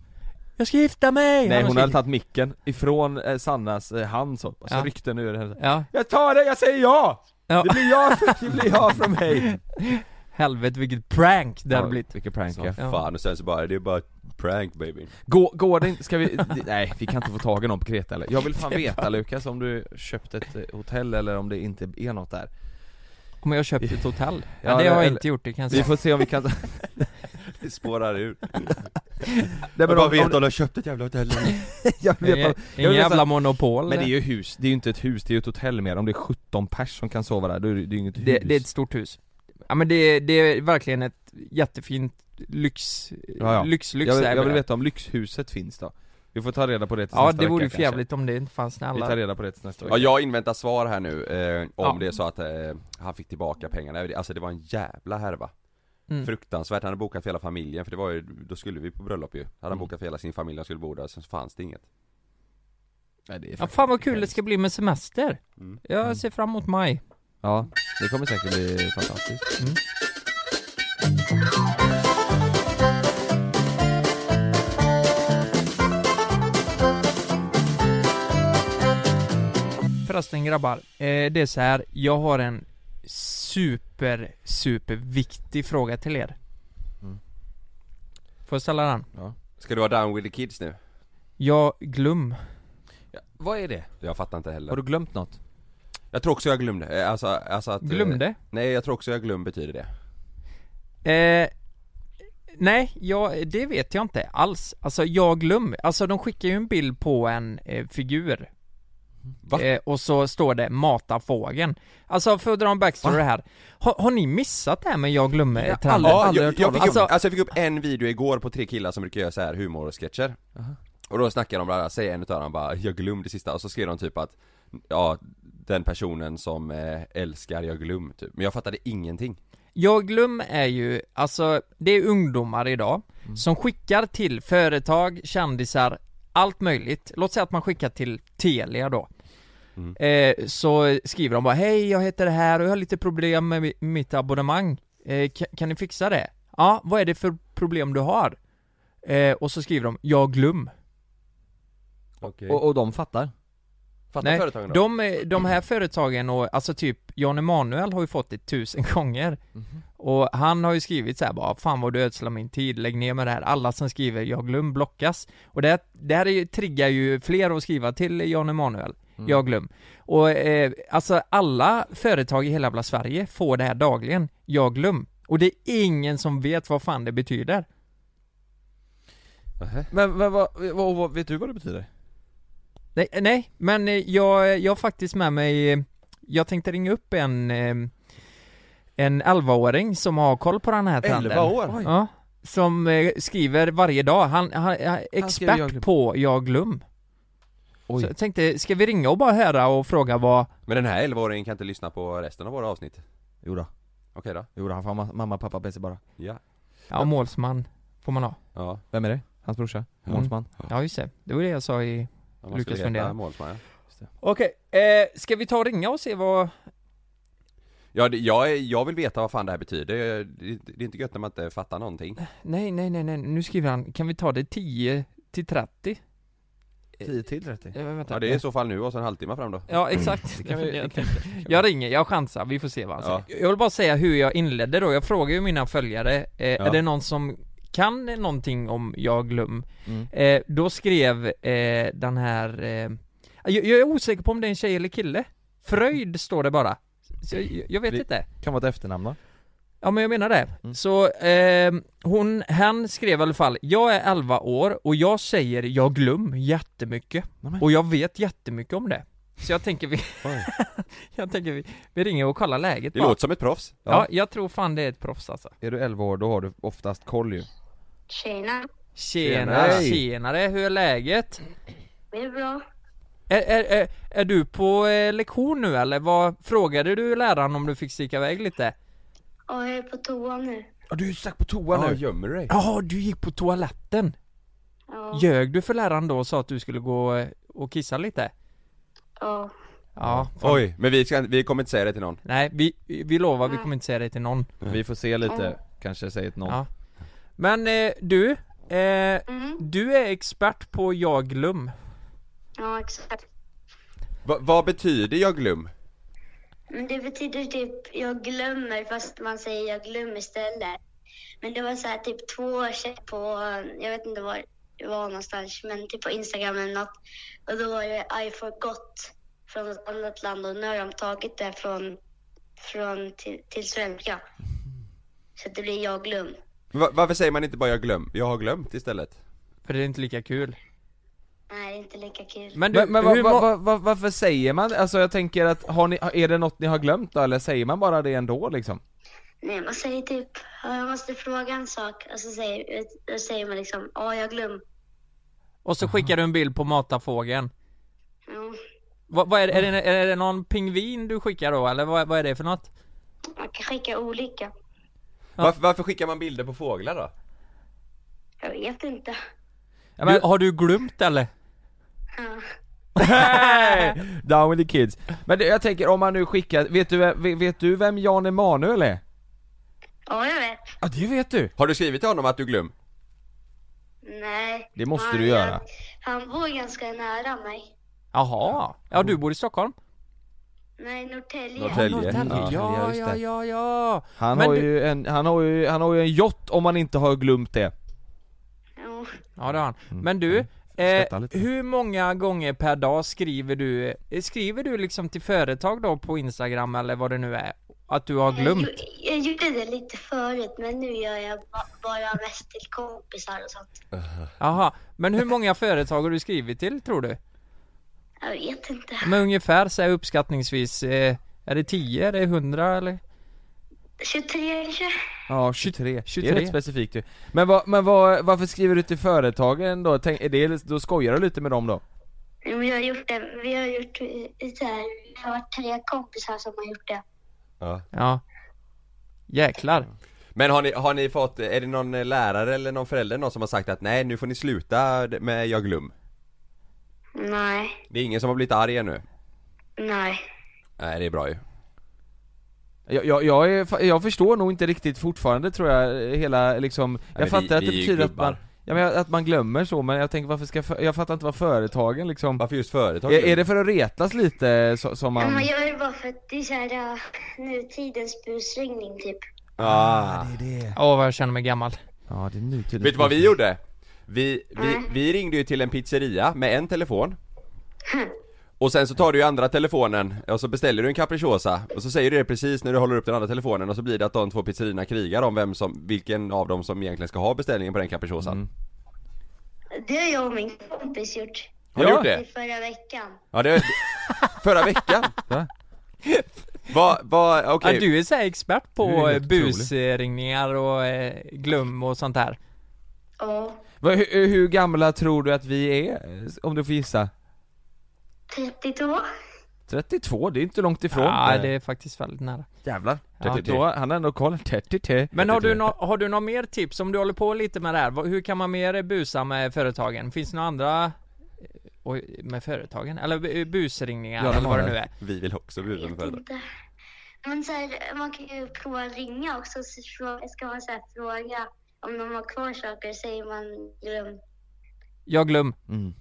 S2: Jag ska gifta mig!
S3: Nej
S2: Han
S3: hon
S2: ska
S3: hade
S2: gifta-
S3: tagit micken ifrån eh, Sannas eh, hand så, så
S2: Ja.
S3: ryckte den ur henne
S2: Ja,
S3: Jag tar det, jag säger ja!
S2: Ja.
S3: Det blir jag, det blir jag från mig! *laughs*
S2: helvete vilket prank det hade
S3: Ja,
S2: blivit
S3: Vilket prank
S1: Så
S3: ja.
S1: fan, och sen så bara, det är bara prank baby
S3: Gå, Går det inte, ska vi, nej vi kan inte få tag i någon på Kreta eller? Jag vill fan veta Lukas om du köpt ett eh, hotell eller om det inte är något där
S2: Om jag köpt
S3: *laughs*
S2: ett hotell?
S3: Ja,
S2: Ja, det har jag
S3: eller-
S2: inte gjort, det kan jag
S3: Vi
S2: säga
S3: får se om vi kan Nej,
S1: Det spårar ur
S3: men
S1: Jag
S3: om-
S1: bara
S3: om-
S1: vet att de har köpt ett jävla hotell
S3: *laughs* jag
S2: Det
S3: vet
S2: är
S3: att- jag
S2: ingen
S3: vet att-
S2: jävla monopol
S3: Men det är ju hus, det är ju inte ett hus, det är ju ett hotell mer. Om det är 17 pers som kan sova där, då är det, det är ju inget
S2: det,
S3: hus.
S2: det är ett stort hus Ja men det, det är verkligen ett jättefint lyx,
S3: Ja, ja.
S2: lyx, lyx
S3: jag, vill,
S2: där
S3: jag vill
S2: med.
S3: veta om lyxhuset finns då. Vi får ta reda på det tills
S2: Ja
S3: nästa
S2: det vore ju
S3: vecka,
S2: för jävligt om det inte fanns när
S3: kanske. Vi
S2: alla
S3: tar reda på det tills nästa
S1: Ja
S3: vecka.
S1: jag inväntar svar här nu, eh, om
S2: Ja.
S1: det är så att eh, han fick tillbaka pengarna, alltså det var en jävla härva
S2: Mm.
S1: Fruktansvärt, han hade bokat för hela familjen för det var ju, då skulle vi på bröllop ju Hade han
S3: Mm.
S1: bokat för hela sin familj, de skulle bo där, sen så fanns det inget
S3: Ja, det är
S2: Ja
S3: faktiskt
S2: fan vad kul det
S3: hemskt.
S2: ska bli med semester
S1: Mm.
S3: Mm.
S2: Jag ser fram emot maj
S3: Ja, det kommer säkert bli fantastiskt.
S2: Mm. Förresten grabbar, eh, det är så här. jag har en super, super viktig fråga till er
S3: Mm.
S2: Får jag ställa den?
S1: Ska du vara down with the kids nu?
S2: Jag glöm
S3: Ja, vad är det?
S1: Jag fattar inte
S3: Har
S1: heller
S3: du glömt något?
S1: Jag tror också jag glömde, eh, alltså, alltså att eh,
S2: Glömde?
S1: Nej jag tror också jag glöm betyder det
S2: Eh, nej, ja, det vet jag inte alls. Alltså jag glöm. Alltså de skickar ju en bild på en eh, figur.
S1: Va?
S2: Eh, och så står det 'Mata fågeln' Alltså för att dra en backstory här har, har ni missat det här med jag glömmer
S3: Jag har
S2: trenden?
S3: aldrig-
S1: Ja,
S3: aldrig
S1: jag,
S3: hört
S1: jag
S3: talas
S1: fick
S2: om.
S1: upp, alltså, jag fick upp en video igår på tre killar som brukar göra så här humorsketcher
S3: Aha.
S1: Och då snackar de bland annat, säger en utav dem bara 'Jag glömde det sista' och så skrev de typ att Ja, den personen som eh, älskar jag glöm typ Men jag fattade ingenting
S2: Jag glöm är ju, alltså det är ungdomar idag
S1: Mm.
S2: som skickar till företag, kändisar, allt möjligt. Låt säga att man skickar till Telia då.
S1: Mm.
S2: Eh, så skriver de bara Hej, jag heter det här och jag har lite problem med mi- mitt abonnemang. Eh, kan, kan ni fixa det? Ja, vad är det för problem du har? Eh, och så skriver de 'Jag glöm'
S1: Okej
S3: Och, och de fattar?
S1: Fattar
S2: Nej,
S1: företagen då?
S2: De, är- de här företagen och, alltså typ, Jan Emanuel har ju fått det tusen *laughs* gånger
S3: Mhm.
S2: Och han har ju skrivit så här bara, fan vad du ödslar min tid, lägg ner med det här Alla som skriver 'Jag glöm' blockas Och det, här- det här är ju, triggar ju fler att skriva till Jan Emanuel
S3: Mm.
S2: Jag glöm Och eh, alltså alla företag i hela jävla Sverige får det här dagligen Jag glöm Och det är ingen som vet vad fan det betyder
S1: Nähä.
S3: Men, men vad, vad, vad, vet du vad det betyder?
S2: Nej, nej men eh, jag, jag har faktiskt med mig, eh, jag tänkte ringa upp en eh, en 11-åring som har koll på den här trenden.
S3: 11 år? Oj.
S2: Ja, som eh, skriver varje dag, han, han, han är expert
S3: skriver Jag glöm.
S2: på Jag glöm.
S3: Oj.
S2: Så jag tänkte, ska vi ringa och bara höra och fråga vad,
S1: Men den här 11-åringen kan inte lyssna på resten av våra avsnitt
S3: Jo då,
S1: Okej då,
S3: jo då han får ha ma- mamma, pappa, Bessie bara
S1: ja,
S2: ja målsman får man ha?
S1: ja
S3: Vem är det? Hans brorsa?
S1: Mm.
S3: Månsman?
S2: Ja just det, det var det jag sa i
S1: om man
S2: Lukas
S1: skulle heta
S2: funderar.
S1: målsman, ja.
S2: Okej, eh, ska vi ta och ringa och se vad
S1: Ja, det, jag, är- jag vill veta vad fan det här betyder, Jag- det, det är inte gött när man inte fattar någonting
S2: Nej nej nej nej, nu skriver han, kan vi ta det 10 till 30?
S3: 10 till 30
S2: Eh, vänta.
S1: Ja det är i så fall nu och så en halvtimme fram då
S2: Ja, exakt. Det
S3: kan vi- det kan-
S2: jag ringer, jag chansar, vi får se vad han
S1: Ja.
S2: säger. Jag vill bara säga hur jag inledde då, jag frågar ju mina följare, eh, är det någon som kan någonting om jag glöm?
S3: mm.
S2: Eh, då skrev eh, den här, eh, jag, jag är osäker på om det är en tjej eller kille. Fröjd står det bara. Så, jag, jag vet
S3: Det-
S2: inte.
S3: Kan vara ett efternamn då?
S2: Ja men jag menar det.
S3: Mm.
S2: Så eh, hon, han skrev i alla fall, jag är 11 år och jag säger jag glöm jättemycket.
S3: Nej, men.
S2: Och jag vet jättemycket om det. Så jag tänker vi,
S3: Oj.
S2: *laughs* jag tänker vi, vi ringer och kollar läget
S1: Det
S2: bara.
S1: låter som ett proffs
S2: ja. jag tror fan det är ett proffs alltså.
S3: Är du 11 år då har du oftast koll ju
S4: Tjena,
S2: Tjena,
S3: Tjena.
S2: tjenare, hur är läget?
S4: det är bra.
S2: Är, är, är, är du på eh, lektion nu eller vad, frågade du läraren om du fick sticka iväg lite?
S4: Ja, jag är på toa nu.
S3: Ja du är strax på toa
S1: Ja, gömmer du dig?
S2: Ja, du gick på toaletten.
S4: Ja,
S2: Ljög du för läraren då och sa att du skulle gå eh, och kissa lite?
S4: ja.
S2: Ja, fan.
S1: Oj, men vi, ska, vi kommer inte säga det till någon
S2: Nej, vi, vi lovar, vi kommer inte säga det till någon.
S3: Vi får se lite, kanske säger ett någon
S2: Ja. Men eh, du, eh,
S4: Mm.
S2: du är expert på jag glöm.
S4: ja exakt.
S1: Va, Vad betyder jag glöm?
S4: Men det betyder typ jag glömmer fast man säger jag glömmer istället. Men det var så här typ två år sedan på, jag vet inte var det var någonstans, men typ på Instagram eller något. Och då var det I forgot från ett annat land och nu har de tagit det från, från till, till svenska. Så det blir jag glöm.
S1: Va, varför säger man inte bara jag glöm? Jag har glömt istället
S2: För det är inte lika kul.
S4: Nej, det är inte lika kul.
S2: Men du,
S3: Men, men
S2: hur
S3: vad-
S2: må-
S3: vad- vad- varför säger man, alltså jag tänker att, har ni, är det något ni har glömt då eller säger man bara det ändå liksom?
S4: Nej, man säger typ, "Ja, jag måste fråga en sak. Och så säger, då säger man liksom, ja, jag glöm.
S2: Och så skickar du en bild på matafågeln.
S4: Ja,
S2: Vad, vad är, det, är, det, är det någon pingvin du skickar då, eller vad, vad är det för något?
S4: man kan skicka olika.
S1: varför, varför skickar man bilder på fåglar då?
S4: Jag vet inte.
S3: Ja, men-
S2: Du, har du glömt eller?
S4: Ja.
S3: Down with the kids. Men det, jag tänker om man nu skickar, vet du, ve- vet du vem Jan Emanuel är?
S4: ja, jag vet.
S3: Ja det vet du!
S1: Har du skrivit till honom att du glöm?
S4: Nej.
S3: Det måste
S4: han,
S3: du göra.
S4: Han, han bor ganska nära mig.
S2: Jaha, ja du bor i Stockholm?
S4: Nej, Norrtälje.
S1: Norrtälje.
S2: Ja,
S1: Ja.
S2: ja,
S3: ja, just
S2: ja,
S3: det.
S2: ja, ja.
S3: Han
S2: Men
S3: har,
S2: du-
S3: ju en, han, har ju, han har ju en yacht om man inte har glömt det.
S4: Ja.
S2: Ja det har han.
S3: Mm.
S2: Men du,
S3: Skrattar
S2: eh,
S3: lite.
S2: hur många gånger per dag skriver du, eh, skriver du liksom till företag då på Instagram eller vad det nu är? Att du har glömt?
S4: Jag, gjo- jag gjorde det lite förut, men nu gör jag ba, bara mest till kompisar och sånt.
S2: Jaha, men hur många företag har du skrivit till tror du?
S4: Jag vet inte.
S2: Men ungefär så här uppskattningsvis, eh, är det 10, är det 100 eller?
S4: 23 kanske?
S3: Ja, 23.
S2: 23.
S3: Det är rätt specifikt ju. Men, vad, men vad, varför skriver du till företagen då? Tänk, är det, då skojar du lite med dem då?
S4: Jo, men Jag har gjort det. Vi har gjort eh, så här. Vi har tre kompisar som har gjort det.
S1: Ja
S2: Ja. Jäklar.
S1: Men har ni, har ni fått, är det någon eh, lärare eller någon förälder någon som har sagt att nej nu får ni sluta med jag glöm?
S4: Nej.
S1: Det är ingen som har blivit arg ännu?
S4: Nej.
S1: Nej det är bra ju
S3: Jag, jag, jag, är, fa- jag förstår nog inte riktigt fortfarande tror jag, hela liksom, jag
S1: men vi-
S3: fattar att
S1: vi
S3: det
S1: är ju
S3: betyder att man,
S1: gubbar.
S3: Ja men jag- att man glömmer så, men jag tänker varför ska, för, jag fattar inte vad företagen liksom
S1: Varför just företag?
S3: är, är det för att retas lite så, som
S4: Ja,
S3: man...
S4: man gör det bara för att det är så här, äh, ja, nutidens busringning typ.
S1: Ah.
S3: det är det.
S2: Åh vad jag känner mig gammal.
S3: Ja det är nu tydligt.
S1: Vet du vad vi gjorde? Vi, vi, vi ringde ju till en pizzeria med en telefon Och sen så tar du ju andra telefonen och så beställer du en capricciosa Och så säger du det precis när du håller upp den andra telefonen och så blir det att de två pizzerierna krigar om vem som, vilken av dem som egentligen ska ha beställningen på den capricciosan
S3: Mm.
S4: Det har jag och min kompis gjort
S1: Har du
S3: Ja.
S1: gjort
S4: i
S1: det?
S4: förra veckan.
S1: Ja det... Förra veckan?
S3: Va?
S1: Vad, vad, okej
S2: Ja, du är så här expert
S3: Du är
S2: på
S3: helt
S2: eh, busringningar och eh, glöm och sånt här.
S4: Ja,
S3: Vad- hur, hur gamla tror du att vi är? Om du får gissa?
S4: 32.
S3: 32, det är inte långt ifrån.
S2: Ja,
S3: Eh,
S2: det är faktiskt väldigt nära.
S3: Jävlar.
S1: Ja.
S3: Då, han har ändå koll. 33.
S2: Men har du, nå- har du några mer tips om du håller på lite med det här? Vad- Hur kan man mer busa med företagen? Finns det några andra eh, Oj, med företagen? Eller bu- busringningar
S3: Ja, de
S2: eller vad
S3: har
S2: det nu
S3: det.
S2: är?
S1: Vi vill också bjuda med
S4: Vet
S1: företag
S4: inte. Men så här, man kan ju prova att ringa också. Så frå- ska man så här, fråga om de har kvar saker säger man glöm.
S2: Jag glöm.
S3: Mm.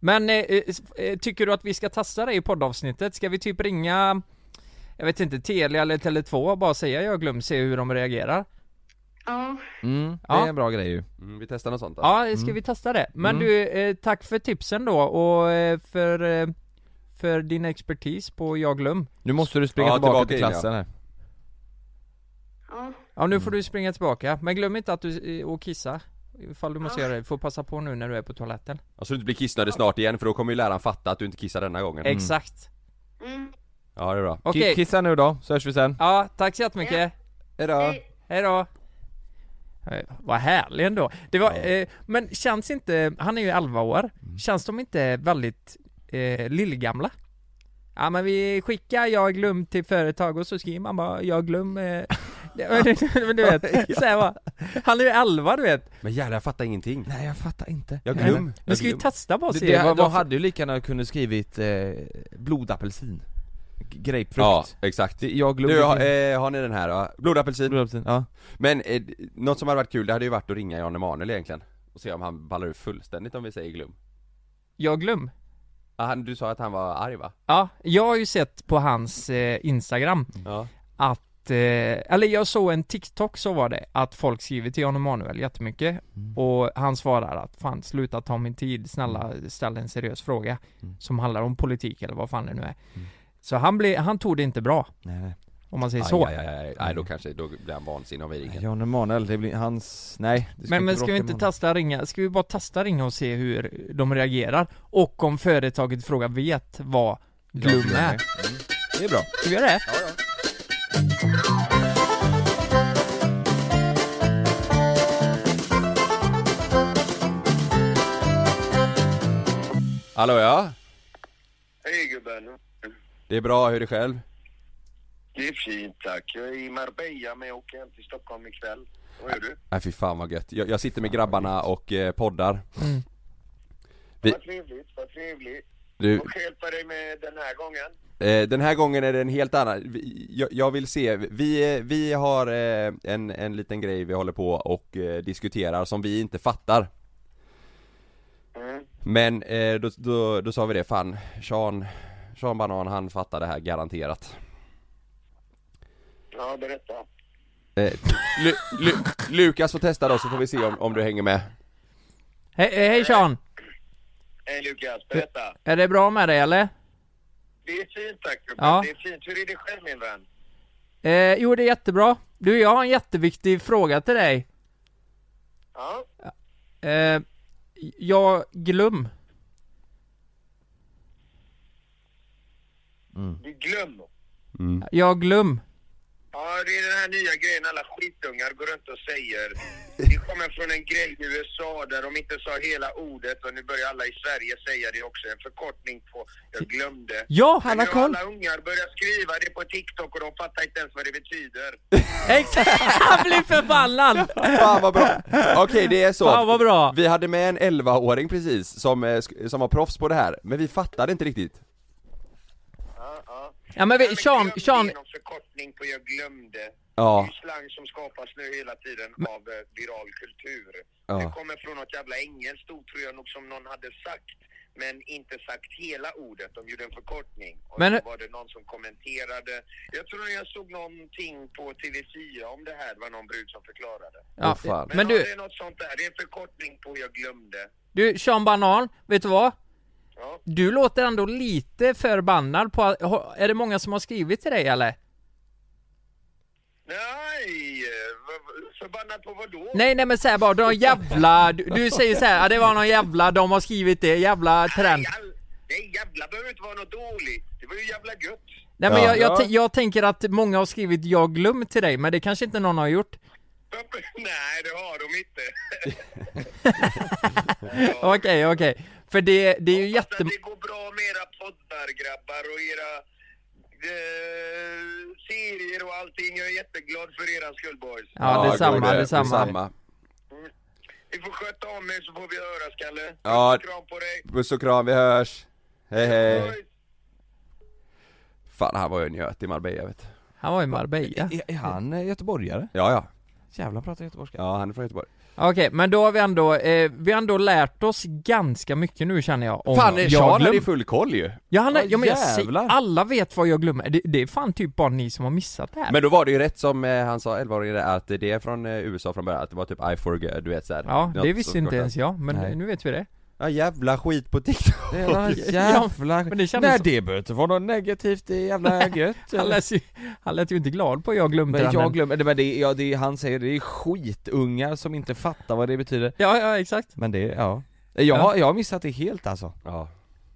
S2: Men eh, eh, s- eh, tycker du att vi ska testa det i poddavsnittet? Ska vi typ ringa jag vet inte, Telia eller Tele2 och bara säga jag glöm, se hur de reagerar.
S4: Ja,
S3: Mm, det
S2: Ja.
S3: är en bra grej ju.
S1: mm, Vi testar något sånt då.
S2: Ja, ska vi testa det? Men du, eh, tack för tipsen då och eh, för, eh, för din expertis på jag glöm.
S3: Nu måste du springa
S1: Ja,
S3: tillbaka,
S1: tillbaka
S3: till
S1: in, ja.
S3: klassen här.
S4: ja.
S2: Ja nu får du springa tillbaka, men glöm inte att du eh, och kissa Ifall du måste
S4: Ja.
S2: göra det, du får passa på nu när du är på toaletten
S1: Och så Alltså, du inte blir kissnödig snart igen för då kommer ju läraren fatta att du inte kissar denna gången
S2: Exakt
S4: Mm.
S1: Ja det är bra
S2: Okej,
S3: Ki- Kissa nu då, så hörs vi sen.
S2: ja tack så jättemycket,
S1: Hejdå!
S4: Hej.
S2: Hej då. Eh, Vad härlig ändå, det var, eh, men känns inte, han är ju 11 år,
S3: Mm.
S2: känns de inte väldigt eh, lillgamla? Ja men vi skickar jag glöm till företag och så skriver man bara jag glöm eh, *laughs* Men du
S3: *laughs*
S2: vet, så här bara. Han är ju 11 du vet
S1: Men jävlar jag fattar ingenting
S3: Nej jag fattar inte.
S1: Jag glöm,
S3: Nej,
S2: Nu
S1: jag
S2: ska vi
S1: glöm.
S2: testa bara och
S3: Det,
S2: se
S3: det,
S2: vad-
S3: de
S2: vad-
S3: hade ju lika gärna kunnat skrivit eh, blodapelsin. G- Grapefrukt.
S1: Ja, exakt
S3: Det, jag glömde...
S1: Du, har, eh, har ni den här då? Blodapelsin?
S3: blodapelsin, ja.
S1: Men eh, något som hade varit kul, det hade ju varit att ringa Jan Emanuel egentligen Och se om han ballar ur fullständigt om vi säger glöm
S2: Jag glöm
S1: ah, han, Du sa att han var arg va?
S2: Ja, jag har ju sett på hans eh, Instagram
S1: Ja
S2: att, eh, eller jag såg en TikTok så var det, att folk skriver till Jan Emanuel jättemycket
S3: Mm.
S2: och han svarar att fan sluta ta min tid, snälla
S3: Mm.
S2: ställ en seriös fråga som handlar om politik eller vad fan det nu är.
S3: Mm.
S2: Så han, blev, han tog det inte bra,
S3: Nej, nej.
S2: om man säger
S1: aj,
S2: så.
S1: aj, aj, aj. Nej då kanske, då blir han vansinnig om vi ringer
S3: Jan Emanuel, det blir hans... Nej. det
S2: Men, men ska
S3: bråka
S2: vi
S3: med
S2: inte
S3: honom.
S2: testa ringa, ska vi bara testa ringa och se hur de reagerar? Och om företaget i fråga vet vad glöm är.
S3: Mm. Det är bra.
S2: Ska vi göra det?
S1: Hallå ja?
S5: Hej gubben.
S1: Det är bra, hur är det själv?
S5: Det är fint tack. Jag är i Marbella men jag åker hem till Stockholm ikväll. Vad gör du?
S1: Nej fy fan vad gött, jag, jag sitter med grabbarna och eh, poddar Vi-
S5: Vad trevligt, vad trevligt.
S1: Du,
S5: Vad ska jag hjälpa dig med den här gången?
S1: Eh, den här gången är det en helt annan, Vi- jag, jag vill se, vi, eh, vi har eh, en, en liten grej vi håller på och eh, diskuterar som vi inte fattar
S5: Mm.
S1: Men eh, då, då, då sa vi det, fan, Sean, Sean Banan han fattar det här garanterat
S5: Ja, berätta.
S1: eh, Lu, Lu, Lukas får testa då så får vi se om, om du hänger med
S2: Hej, hej Sean!
S5: Hej Lukas, berätta.
S2: Är det bra med dig eller?
S5: Det är fint tack gubben.
S2: Ja.
S5: Det är fint. Hur är det själv min vän?
S2: Eh, jo, det är jättebra. Du, jag har en jätteviktig fråga till dig.
S5: Ja.
S2: Eh, jag glöm.
S5: Du glöm.
S2: Jag glöm.
S5: Ja, det är den här nya grejen alla skitungar går runt och säger. Det kommer från en grej i USA där de inte sa hela ordet och nu börjar alla i Sverige säga det också. En förkortning på jag glömde.
S2: Ja,
S5: Men
S2: han har
S5: nu
S2: koll!
S5: Alla ungar börjar skriva det på TikTok och de fattar inte ens vad det betyder.
S2: Exakt! *laughs* Han blir förbannad!
S1: Fan vad bra! Okej det är så,
S2: Fan, vad bra.
S1: vi hade med en 11-åring precis som, eh, sk- som var proffs på det här, men vi fattade inte riktigt
S5: Ja, ja.
S2: Ja men
S5: Nej,
S2: vi,
S5: men
S2: Sean,
S5: glömde
S2: Sean,
S5: är någon förkortning på jag glömde. Det
S1: Ja,
S5: är slang som skapas nu hela tiden av eh, viral kultur.
S1: Ja.
S5: Det kommer från något jävla engelskt ord tror jag nog som någon hade sagt. Men inte sagt hela ordet, de gjorde en förkortning. Och
S2: Men-
S5: så var det någon som kommenterade. Jag tror jag såg någonting på TV4 om det här, det var någon brud som förklarade.
S2: Ja,
S1: Åh, fan.
S5: Men,
S2: Men
S5: ja,
S2: du,
S5: det är något sånt där, det är en förkortning på jag glömde.
S2: du Sean Banan, vet du vad?
S5: Ja.
S2: Du låter ändå lite förbannad på att, ha- är det många som har skrivit till dig eller?
S5: Nej, eh, vad- vad- förbannad på vad då?
S2: Nej nej men säg bara, de jävla, du, du säger så här, ja, det var någon jävla, de har skrivit det, jävla trend.
S5: Jävla- Nej jävla behöver inte vara något dåligt. Det var ju jävla gött. *laughs*
S2: Nej men
S1: Ja.
S2: jag, jag,
S1: Ja.
S2: t- jag tänker att många har skrivit 'jag glöm' till dig, men det kanske inte någon har gjort.
S5: Nej, det har de
S2: *laughs*
S5: inte.
S2: Okej, okej. För det, det är ju
S5: Fast
S2: jätte...
S5: att Alltså, det går bra med era poddar grabbar och era eh, serier och allting. Jag är jätteglad för eran skull boys.
S2: Ja, detsamma,
S1: god idé.
S2: detsamma.
S5: Ni får sköta om er så får vi höras Kalle.
S1: Ja. Eh.
S5: Kram på dig.
S1: Puss och kram, vi hörs! Hej hej!
S5: Boys.
S1: Fan han var ju en njöt i Marbella vet du.
S2: Han var i Marbella.
S3: Är, är han eh, göteborgare?
S1: Ja ja,
S3: Jävlar pratar göteborgska.
S1: ja han är från Göteborg.
S2: Okej, men då har vi ändå, eh, vi har ändå lärt oss ganska mycket nu känner jag om
S1: Fan
S2: jag
S1: Sean hade
S2: glöm.
S1: ju full koll ju!
S2: Ja, han,
S3: Ja,
S2: ja men jag säger,
S3: jävlar.
S2: alla vet vad jag glömmer. Det, det är fan typ bara ni som har missat det här.
S1: Men då var det ju rätt som eh, han sa 11-åringen där, att det är från eh, USA från början, att det var typ I forgot, du vet såhär
S2: ja, det visste inte ens jag, men
S3: Nej.
S2: nu vet vi det.
S1: Ja jävla skit på TikTok!
S3: Det
S1: *laughs*
S3: är någon
S2: Ja,
S3: jävla...
S2: men det kändes
S3: Nej
S2: så-
S3: det behöver inte vara något negativt, det är jävla
S2: *laughs*
S3: gött
S2: Han lät ju, han lät ju inte glad på jag glömde
S3: Men
S2: den.
S3: jag glömmer, nej, men det, är- ja, det är, han säger det är skitungar som inte fattar vad det betyder
S2: Ja, ja exakt.
S3: Men det, ja Eh, Jag, har, jag har missat det helt alltså
S1: Ja,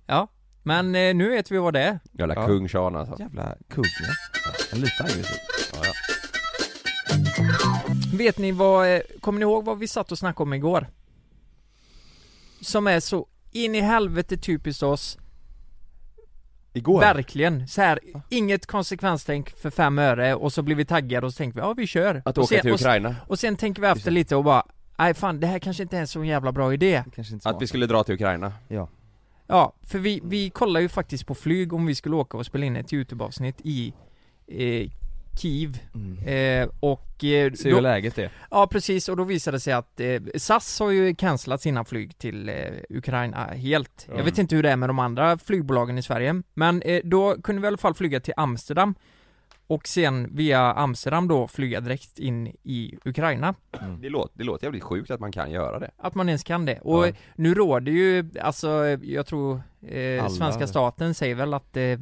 S2: Ja. Men eh, nu vet vi vad det är.
S1: jävla
S3: Ja.
S1: kung Sean alltså
S3: Jävla kugge En liten aggressiv
S1: ja, ja.
S2: Vet ni vad, eh, kommer ni ihåg vad vi satt och snackade om igår? Som är så in i helvete typiskt oss,
S1: Igår?
S2: verkligen. Så här, inget konsekvenstänk för fem öre och så blir vi taggade och så tänker vi ja vi kör.
S1: Att
S2: och
S1: åka
S2: sen,
S1: till
S2: och, s-
S1: Ukraina?
S2: och sen tänker vi efter lite och bara, nej fan det här kanske inte är en så jävla bra idé.
S3: Kanske inte
S1: Att vi skulle dra till Ukraina?
S3: Ja
S2: Ja, för vi, vi kollar ju faktiskt på flyg om vi skulle åka och spela in ett YouTube-avsnitt i eh, Kiev.
S3: Mm.
S2: Eh, och eh,
S3: Se hur
S2: då,
S3: läget är
S2: ja precis, och då visade det sig att eh, SAS har ju cancelat sina flyg till eh, Ukraina helt. Jag vet inte hur det är med de andra flygbolagen i Sverige, men eh, då kunde vi i alla fall flyga till Amsterdam och sen via Amsterdam då flyga direkt in i Ukraina.
S1: Det, låter, det låter jävligt sjukt att man kan göra det
S2: Att man ens kan det. Och
S1: Ja.
S2: nu råder ju, alltså jag tror eh,
S3: Alla.
S2: svenska staten säger väl att eh,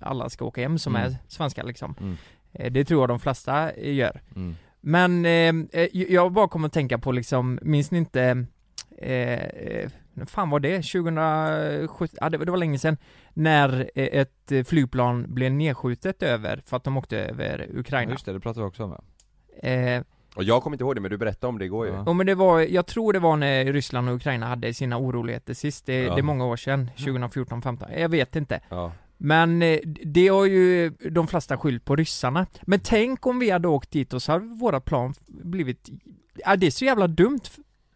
S2: alla ska åka hem som
S3: Mm.
S2: är svenskar liksom.
S3: Mm.
S2: Eh, det tror jag de flesta eh, gör. Men eh, eh, jag bara kommer att tänka på liksom, minns ni inte, eh, eh, när fan var det? 2017? Ja, det, var- det var länge sedan. När eh, ett eh, flygplan blev nedskjutet över, för att de åkte över
S3: Ja,
S2: Ukraina.
S3: Just det, det pratar vi också om ja.
S2: Eh,
S1: Och jag kommer inte ihåg det men du berättade om det igår ju
S3: Ja.
S2: Ja men det var, jag tror det var när Ryssland och Ukraina hade sina oroligheter sist, det,
S1: Ja.
S2: det är många år sedan, 2014, 15 jag vet inte.
S1: Ja.
S2: Men eh, det har ju de flesta skyllt på ryssarna. Men tänk om vi hade åkt dit och så hade våra plan blivit, ja det är så jävla dumt.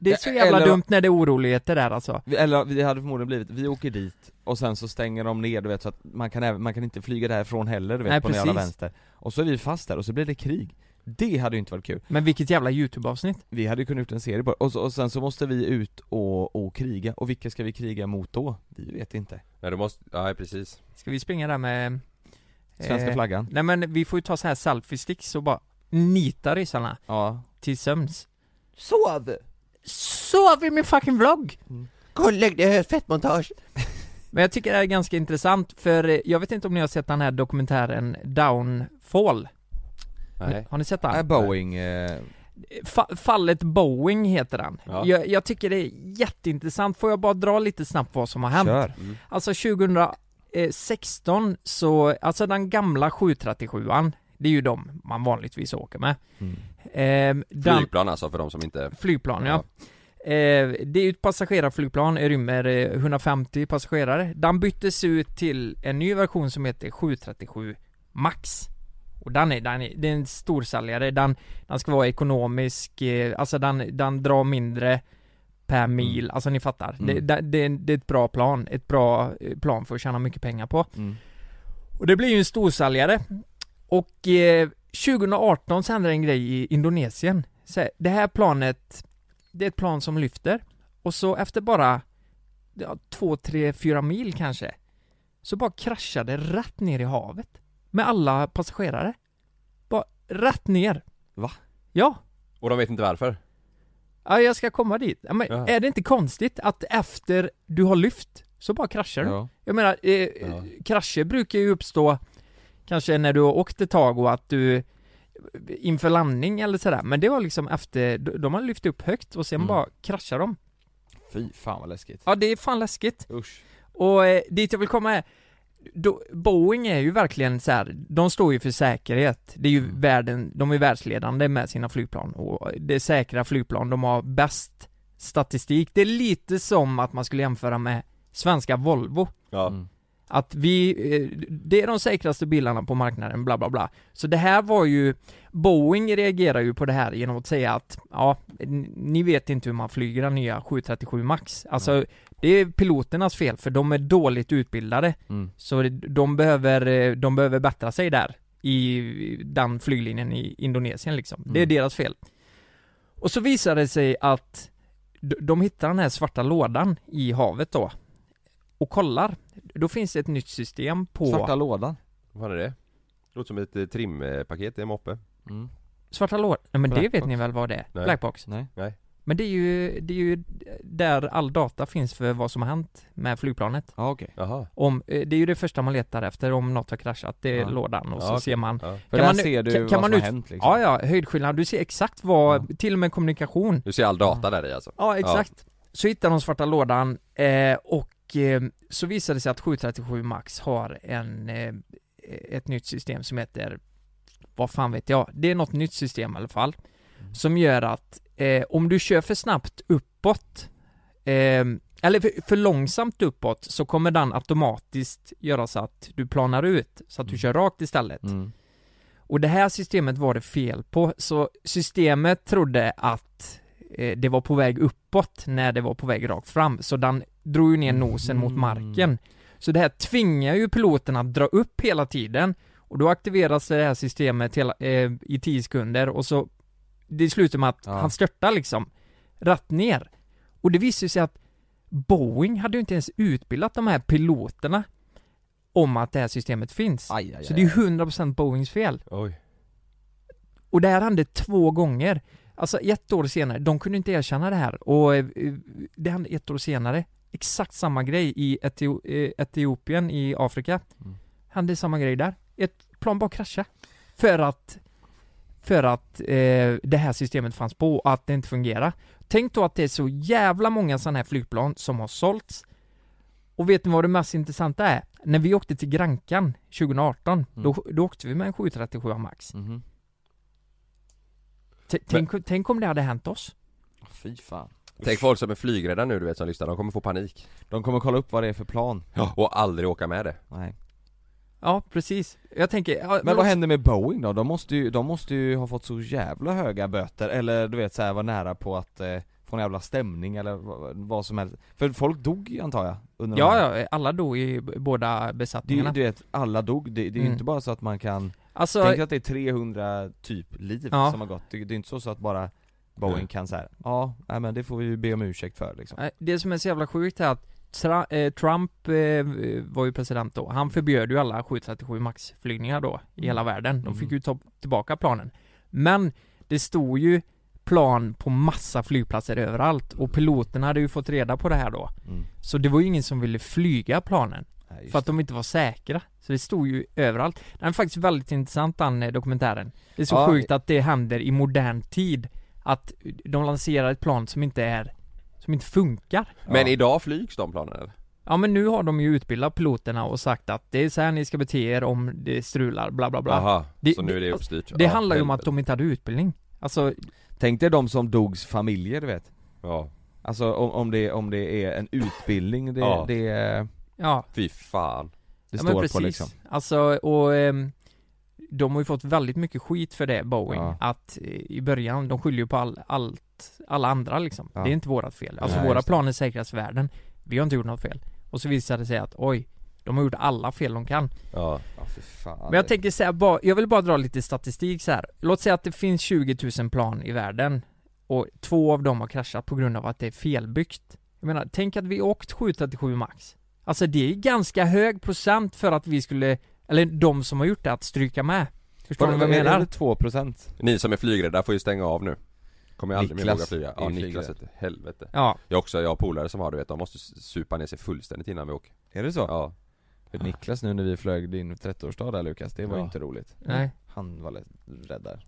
S2: Det är så
S3: Ja,
S2: jävla
S3: eller-
S2: dumt när det är oroligheter där alltså.
S3: Vi- Eller det hade förmodligen blivit, vi åker dit och sen så stänger de ner du vet så att man kan, även, man kan inte flyga därifrån heller du vet
S2: Nej,
S3: på den jävla
S2: precis.
S3: vänster Och så är vi fast där och så blir det krig Det hade ju inte varit kul
S2: Men vilket jävla YouTube-avsnitt.
S3: Vi hade ju kunnat gjort en serie på det. och, så, och sen så måste vi ut och, och kriga, och vilka ska vi kriga mot då? Vi vet inte
S1: Nej du måste, ja precis
S2: Ska vi springa där med...
S3: Svenska
S2: eh,
S3: flaggan?
S2: Nej men vi får ju ta så här selfie-sticks och bara nita ryssarna
S3: Ja Äh,
S2: till sömns.
S3: Sov!
S2: Så har vi min fucking vlogg!
S1: Kolla, lägg dig fett montage!
S2: Men jag tycker det här är ganska intressant för eh, jag vet inte om ni har sett den här dokumentären Downfall?
S1: Nej
S2: Har ni sett
S3: Äh,
S2: den?
S3: Boeing, eh,
S2: Fa- fallet Boeing heter den.
S1: Ja.
S2: Jag, jag tycker det är jätteintressant, får jag bara dra lite snabbt vad som har hänt?
S3: kör!
S2: Alltså 2016 så, alltså den gamla 737an, det är ju de man vanligtvis åker med.
S3: Mm.
S2: Ehm, den,
S1: Flygplan alltså för de som inte
S2: flygplan ja. Eh, det är ju ett passagerarflygplan, det rymmer eh, 150 passagerare. Den byttes ut till en ny version som heter 737 Max. Och den är, den är, det är en storsäljare, den, den ska vara ekonomisk, eh, alltså den, den drar mindre per mil, alltså ni fattar. Det,
S3: Mm.
S2: det, det, är- det är ett bra plan, ett bra eh, plan för att tjäna mycket pengar på.
S3: Mm.
S2: Och det blir ju en storsäljare. Och eh, 2018 så hände det en grej i Indonesien. Så här, det här planet, det är ett plan som lyfter och så efter bara ja, två, tre, fyra mil kanske så bara kraschade rätt ner i havet med alla passagerare. Bara rätt ner.
S1: Va?
S2: Ja.
S1: Och de vet inte varför?
S2: Ja, jag ska komma dit. Ja, men
S1: Ja.
S2: är det inte konstigt att efter du har lyft så bara kraschar du?
S3: Ja.
S2: Jag menar, eh, eh, krascher brukar ju uppstå kanske när du har åkt ett tag och att du inför landning eller sådär, men det var liksom efter, de har lyft upp högt och sen
S3: Mm.
S2: bara kraschar de.
S3: Fy fan vad läskigt.
S2: Ja, det är fan läskigt.
S3: Usch.
S2: Och eh, dit jag vill komma är då, Boeing är ju verkligen så här, de står ju för säkerhet. Det är ju
S3: Mm.
S2: världen, de är världsledande med sina flygplan och det är säkra flygplan, de har bäst statistik. Det är lite som att man skulle jämföra med svenska Volvo.
S1: Ja.
S3: Mm.
S2: Att vi, eh, det är de säkraste bilarna på marknaden, bla bla bla. Så det här var ju, Boeing reagerar ju på det här genom att säga att, ja, n- ni vet inte hur man flyger den nya 737 Max. Alltså, det är piloternas fel för de är dåligt utbildade.
S3: Mm.
S2: Så det- de behöver, eh, de behöver bättra sig där i den flyglinjen i Indonesien liksom. Det är
S3: Mm.
S2: deras fel. Och så visar det sig att d- de hittar den här svarta lådan i havet då och kollar. Då finns det ett nytt system på
S3: Svarta lådan.
S1: Vad fan är det? Låter som ett eh, trimpaket i en moppe
S3: Mm.
S2: svarta lådan. Nej men det
S3: Black
S2: vet
S3: box.
S2: ni väl vad det är?
S1: Nej.
S2: Blackbox.
S3: Nej.
S2: Men det är ju, det är ju där all data finns för vad som har hänt med flygplanet.
S3: Ja okej.
S1: Jaha
S2: Om, eh, det är ju det första man letar efter om något har kraschat, det är
S3: Ja.
S2: lådan och
S1: Ja,
S2: så
S1: okej.
S2: ser man
S1: ja.
S3: För
S2: Kan
S3: där
S2: man-
S3: ser du
S2: kan-
S3: vad
S2: kan
S3: som
S2: man
S3: har
S2: ut-
S3: hänt liksom.
S2: Ja ja, höjdskillnad, du ser exakt vad, till och med kommunikation
S1: Du ser all data där i alltså?
S2: Ja exakt Så hittar de svarta lådan eh, och eh, så visar det sig att 737 Max har en, eh, ett nytt system som heter Vad fan vet jag, det är något nytt system i alla fall Som gör att eh, om du kör för snabbt uppåt eh, Eller för, för långsamt uppåt så kommer den automatiskt göra så att du planar ut Så att du
S3: Mm.
S2: kör rakt istället
S3: Mm.
S2: och det här systemet var det fel på, så systemet trodde att eh, det var på väg uppåt när det var på väg rakt fram, så den drog ju ner nosen mot
S3: Mm.
S2: marken. Så det här tvingar ju piloten att dra upp hela tiden och då aktiveras det här systemet hela, eh, i 10 sekunder och så det slutar med att
S3: Ja.
S2: han störtar liksom, rätt ner. Och det visar ju sig att Boeing hade ju inte ens utbildat de här piloterna om att det här systemet finns.
S3: Aj, aj, aj,
S2: Så det är ju 100% Boeings fel.
S1: Oj
S2: Och det här hände två gånger. Alltså ett år senare, de kunde inte erkänna det här och eh, det hände ett år senare. Exakt samma grej i Etio eh, Etiopien i Afrika.
S3: Mm.
S2: Hände samma grej där. Ett plan bara kraschade. För att för att eh, det här systemet fanns på och att det inte fungerar. Tänk då att det är så jävla många sådana här flygplan som har sålts. Och vet ni vad det mest intressanta är? När vi åkte till Grankan 2018, då, då åkte vi med en 737 Max.
S3: Mhm.
S2: T- Tänk, tänk om det hade hänt oss?
S3: Fy fan.
S1: Tänk folk som är flygrädda nu du vet som lyssnar, de kommer få panik
S3: De kommer kolla upp vad det är för plan.
S1: Och aldrig åka med det
S3: Nej.
S2: Ja, precis. Jag tänker... Ja,
S3: Men vad
S2: också-
S3: händer med Boeing då? De måste ju, de måste ju ha fått så jävla höga böter, eller du vet såhär vara nära på att eh, få en jävla stämning eller vad, vad som helst. För folk dog ju, antar jag? Under de här-
S2: Ja, ja, alla dog i b- båda
S3: Det är ju-
S2: besättningarna.
S3: du vet, alla dog, det, det är ju
S2: Mm.
S3: inte bara så att man kan,
S2: alltså,
S3: tänk att det är 300 typ liv
S2: Ja.
S3: som har gått, det, det är inte så, så att bara Boeing kan såhär, ja, nej men det får vi ju be om ursäkt för liksom
S2: eh, det som är så jävla sjukt är att Tra- eh, Trump eh, var ju president då. Han förbjöd ju alla 737 Max-flygningar då i hela
S3: Mm.
S2: världen. De fick ju ta tillbaka planen. Men det stod ju plan på massa flygplatser överallt och piloterna hade ju fått reda på det här då.
S3: Mm.
S2: Så det var ju ingen som ville flyga planen.
S3: Nej, just
S2: För att de inte var säkra. Så det stod ju överallt. Den är faktiskt väldigt intressant den eh, dokumentären. Det är så
S3: Ja.
S2: sjukt att det händer i modern tid. Att de lanserar ett plan som inte är, som inte funkar.
S1: Men idag flygs de planen eller?
S2: Ja men nu har de ju utbildat piloterna och sagt att det är så här ni ska bete er om det strular, bla bla bla.
S1: Jaha,
S2: Det-
S1: så nu är det
S2: det-
S1: uppstyrt
S2: Det
S1: Ja,
S2: handlar ju om att
S1: helvete.
S2: de inte hade utbildning. Alltså,
S3: Tänk dig de som dogs familjer du vet
S1: Ja,
S3: Alltså om, om, det, om det är en utbildning, det,
S1: Ja.
S3: det, det
S2: ja.
S1: fy fan
S2: ja,
S3: står på liksom
S2: Alltså, och ehm, de har ju fått väldigt mycket skit för det, Boeing.
S3: Ja.
S2: Att eh, i början, de skyller ju på all, allt, alla andra liksom.
S3: Ja.
S2: Det är inte vårat fel. Alltså
S3: Nej,
S2: våra
S3: just det.
S2: planer säkras världen. Vi har inte gjort något fel. Och så visar det sig att oj, De har gjort alla fel de kan.
S1: Ja.
S3: Ja, för fan.
S2: Men jag tänker säga, bara- jag vill bara dra lite statistik så här. Låt säga att det finns 20 000 plan i världen och två av dem har kraschat på grund av att det är felbyggt. Jag menar, tänk att vi åkt 737 max. Alltså det är ganska hög procent för att vi skulle, eller de som har gjort det, att stryka med. Förstår
S3: Var
S2: ni
S3: det,
S2: vad jag menar?
S3: Är det 2%?
S1: Ni som är flygrädda får ju stänga av nu Kommer jag aldrig mer
S3: Niklas
S1: våga flyga Ja
S3: är
S1: Niklas
S3: flygrädd.
S1: heter helvete
S2: Ja,
S1: Jag också, jag har polare som har du vet, de måste s- supa ner sig fullständigt innan vi åker
S3: Är det så?
S1: Ja
S3: För Niklas nu när vi flög din 30-årsdag där Lukas, det var ju
S1: Ja.
S3: inte roligt
S2: nej.
S3: Han var lite rädd där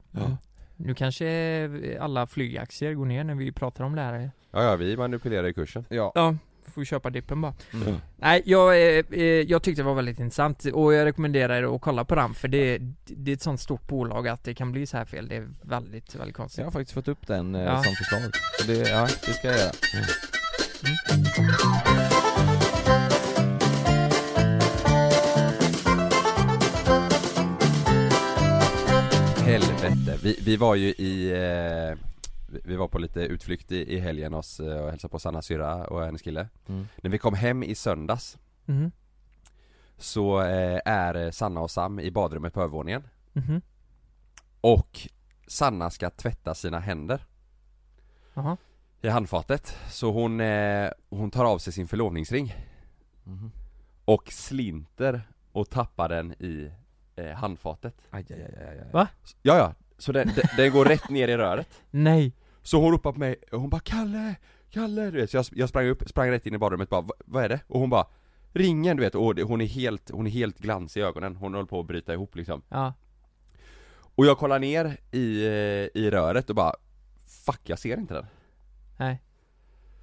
S2: Nu kanske alla flygaktier går ner när vi pratar om det här.
S1: Ja, ja vi manipulerar i kursen
S3: Ja,
S2: Ja, får köpa dippen bara.
S3: Mm.
S2: Nej, jag, eh, eh, jag tyckte det var väldigt intressant och jag rekommenderar er att kolla på den för det, det är ett sånt stort bolag att det kan bli så här fel. Det är väldigt, väldigt
S3: så jag
S2: konstigt.
S3: har faktiskt fått upp den eh,
S2: Ja.
S3: som förslag Så det, ja, det ska jag göra
S1: Helvete, vi, vi var ju i eh, vi- Vi var på lite utflykt i, i helgen oss eh, och hälsade på Sanna syrra och hennes kille
S3: Mm.
S1: När vi kom hem i söndags
S2: Mhm,
S1: Så eh, är Sanna och Sam i badrummet på övervåningen
S2: mhm,
S1: Och Sanna ska tvätta sina händer
S2: jaha.
S1: i handfatet Så hon, eh, hon tar av sig sin förlovningsring
S3: Mhm.
S1: Och slinter och tappar den i eh, handfatet
S3: Aj, aj, aj, aj, aj.
S2: Va?
S1: Ja ja, så den, den, den går rätt ner i röret
S2: Nej.
S1: Så hon ropar på mig, och hon bara 'Kalle, Kalle' du vet, så jag, jag sprang upp, sprang rätt in i badrummet bara "Va- 'Vad är det?' Och hon bara 'Ringen' du vet, och det- hon är helt, hon är helt glans i ögonen, hon håller på att bryta ihop liksom
S2: Ja.
S1: Och jag kollar ner i, eh, i röret och bara 'Fuck, jag ser inte den'
S2: Nej.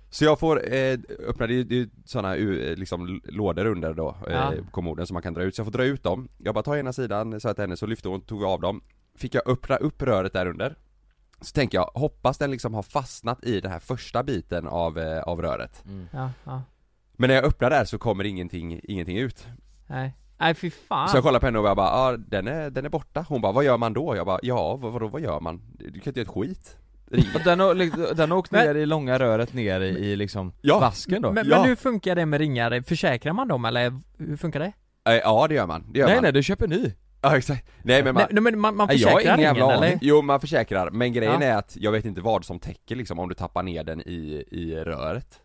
S1: Så jag får, eh, öppna, det är ju sådana liksom l- lådor under då, eh,
S2: Ja.
S1: kommoden som man kan dra ut, så jag får dra ut dem Jag bara tar ena sidan, sa jag till henne, så lyfte hon, tog av dem Fick jag öppna upp röret där under Så tänker jag, hoppas den liksom har fastnat i den här första biten av, eh, av röret
S2: Ja, ja.
S1: Men när jag öppnar där så kommer ingenting, ingenting ut
S2: Nej. Nej, fy fan.
S1: Så jag kollar på henne och jag bara, ah, den, är, den är borta Hon bara, vad gör man då? Jag bara, ja vad, vadå vad gör man? Du kan inte göra ett skit
S3: Och Den har, liksom- den har åkt
S2: Men-
S3: ner i långa röret ner i, i liksom
S1: Ja.
S3: vasken då?
S2: men,
S1: Ja.
S2: men hur funkar det med ringar? Försäkrar man dem eller hur funkar det?
S1: Eh, Ja det gör man, det gör
S3: nej
S1: man
S3: nej, du köper ny!
S1: Ja exakt, nej men man,
S2: Nej, nej men man, man
S3: Nej, jag har
S2: försäkrar
S3: ingen
S2: ringen
S3: jävla aning.
S2: eller?
S1: Jo man försäkrar, men grejen
S2: Ja.
S1: är att jag vet inte vad som täcker liksom om du tappar ner den i, i röret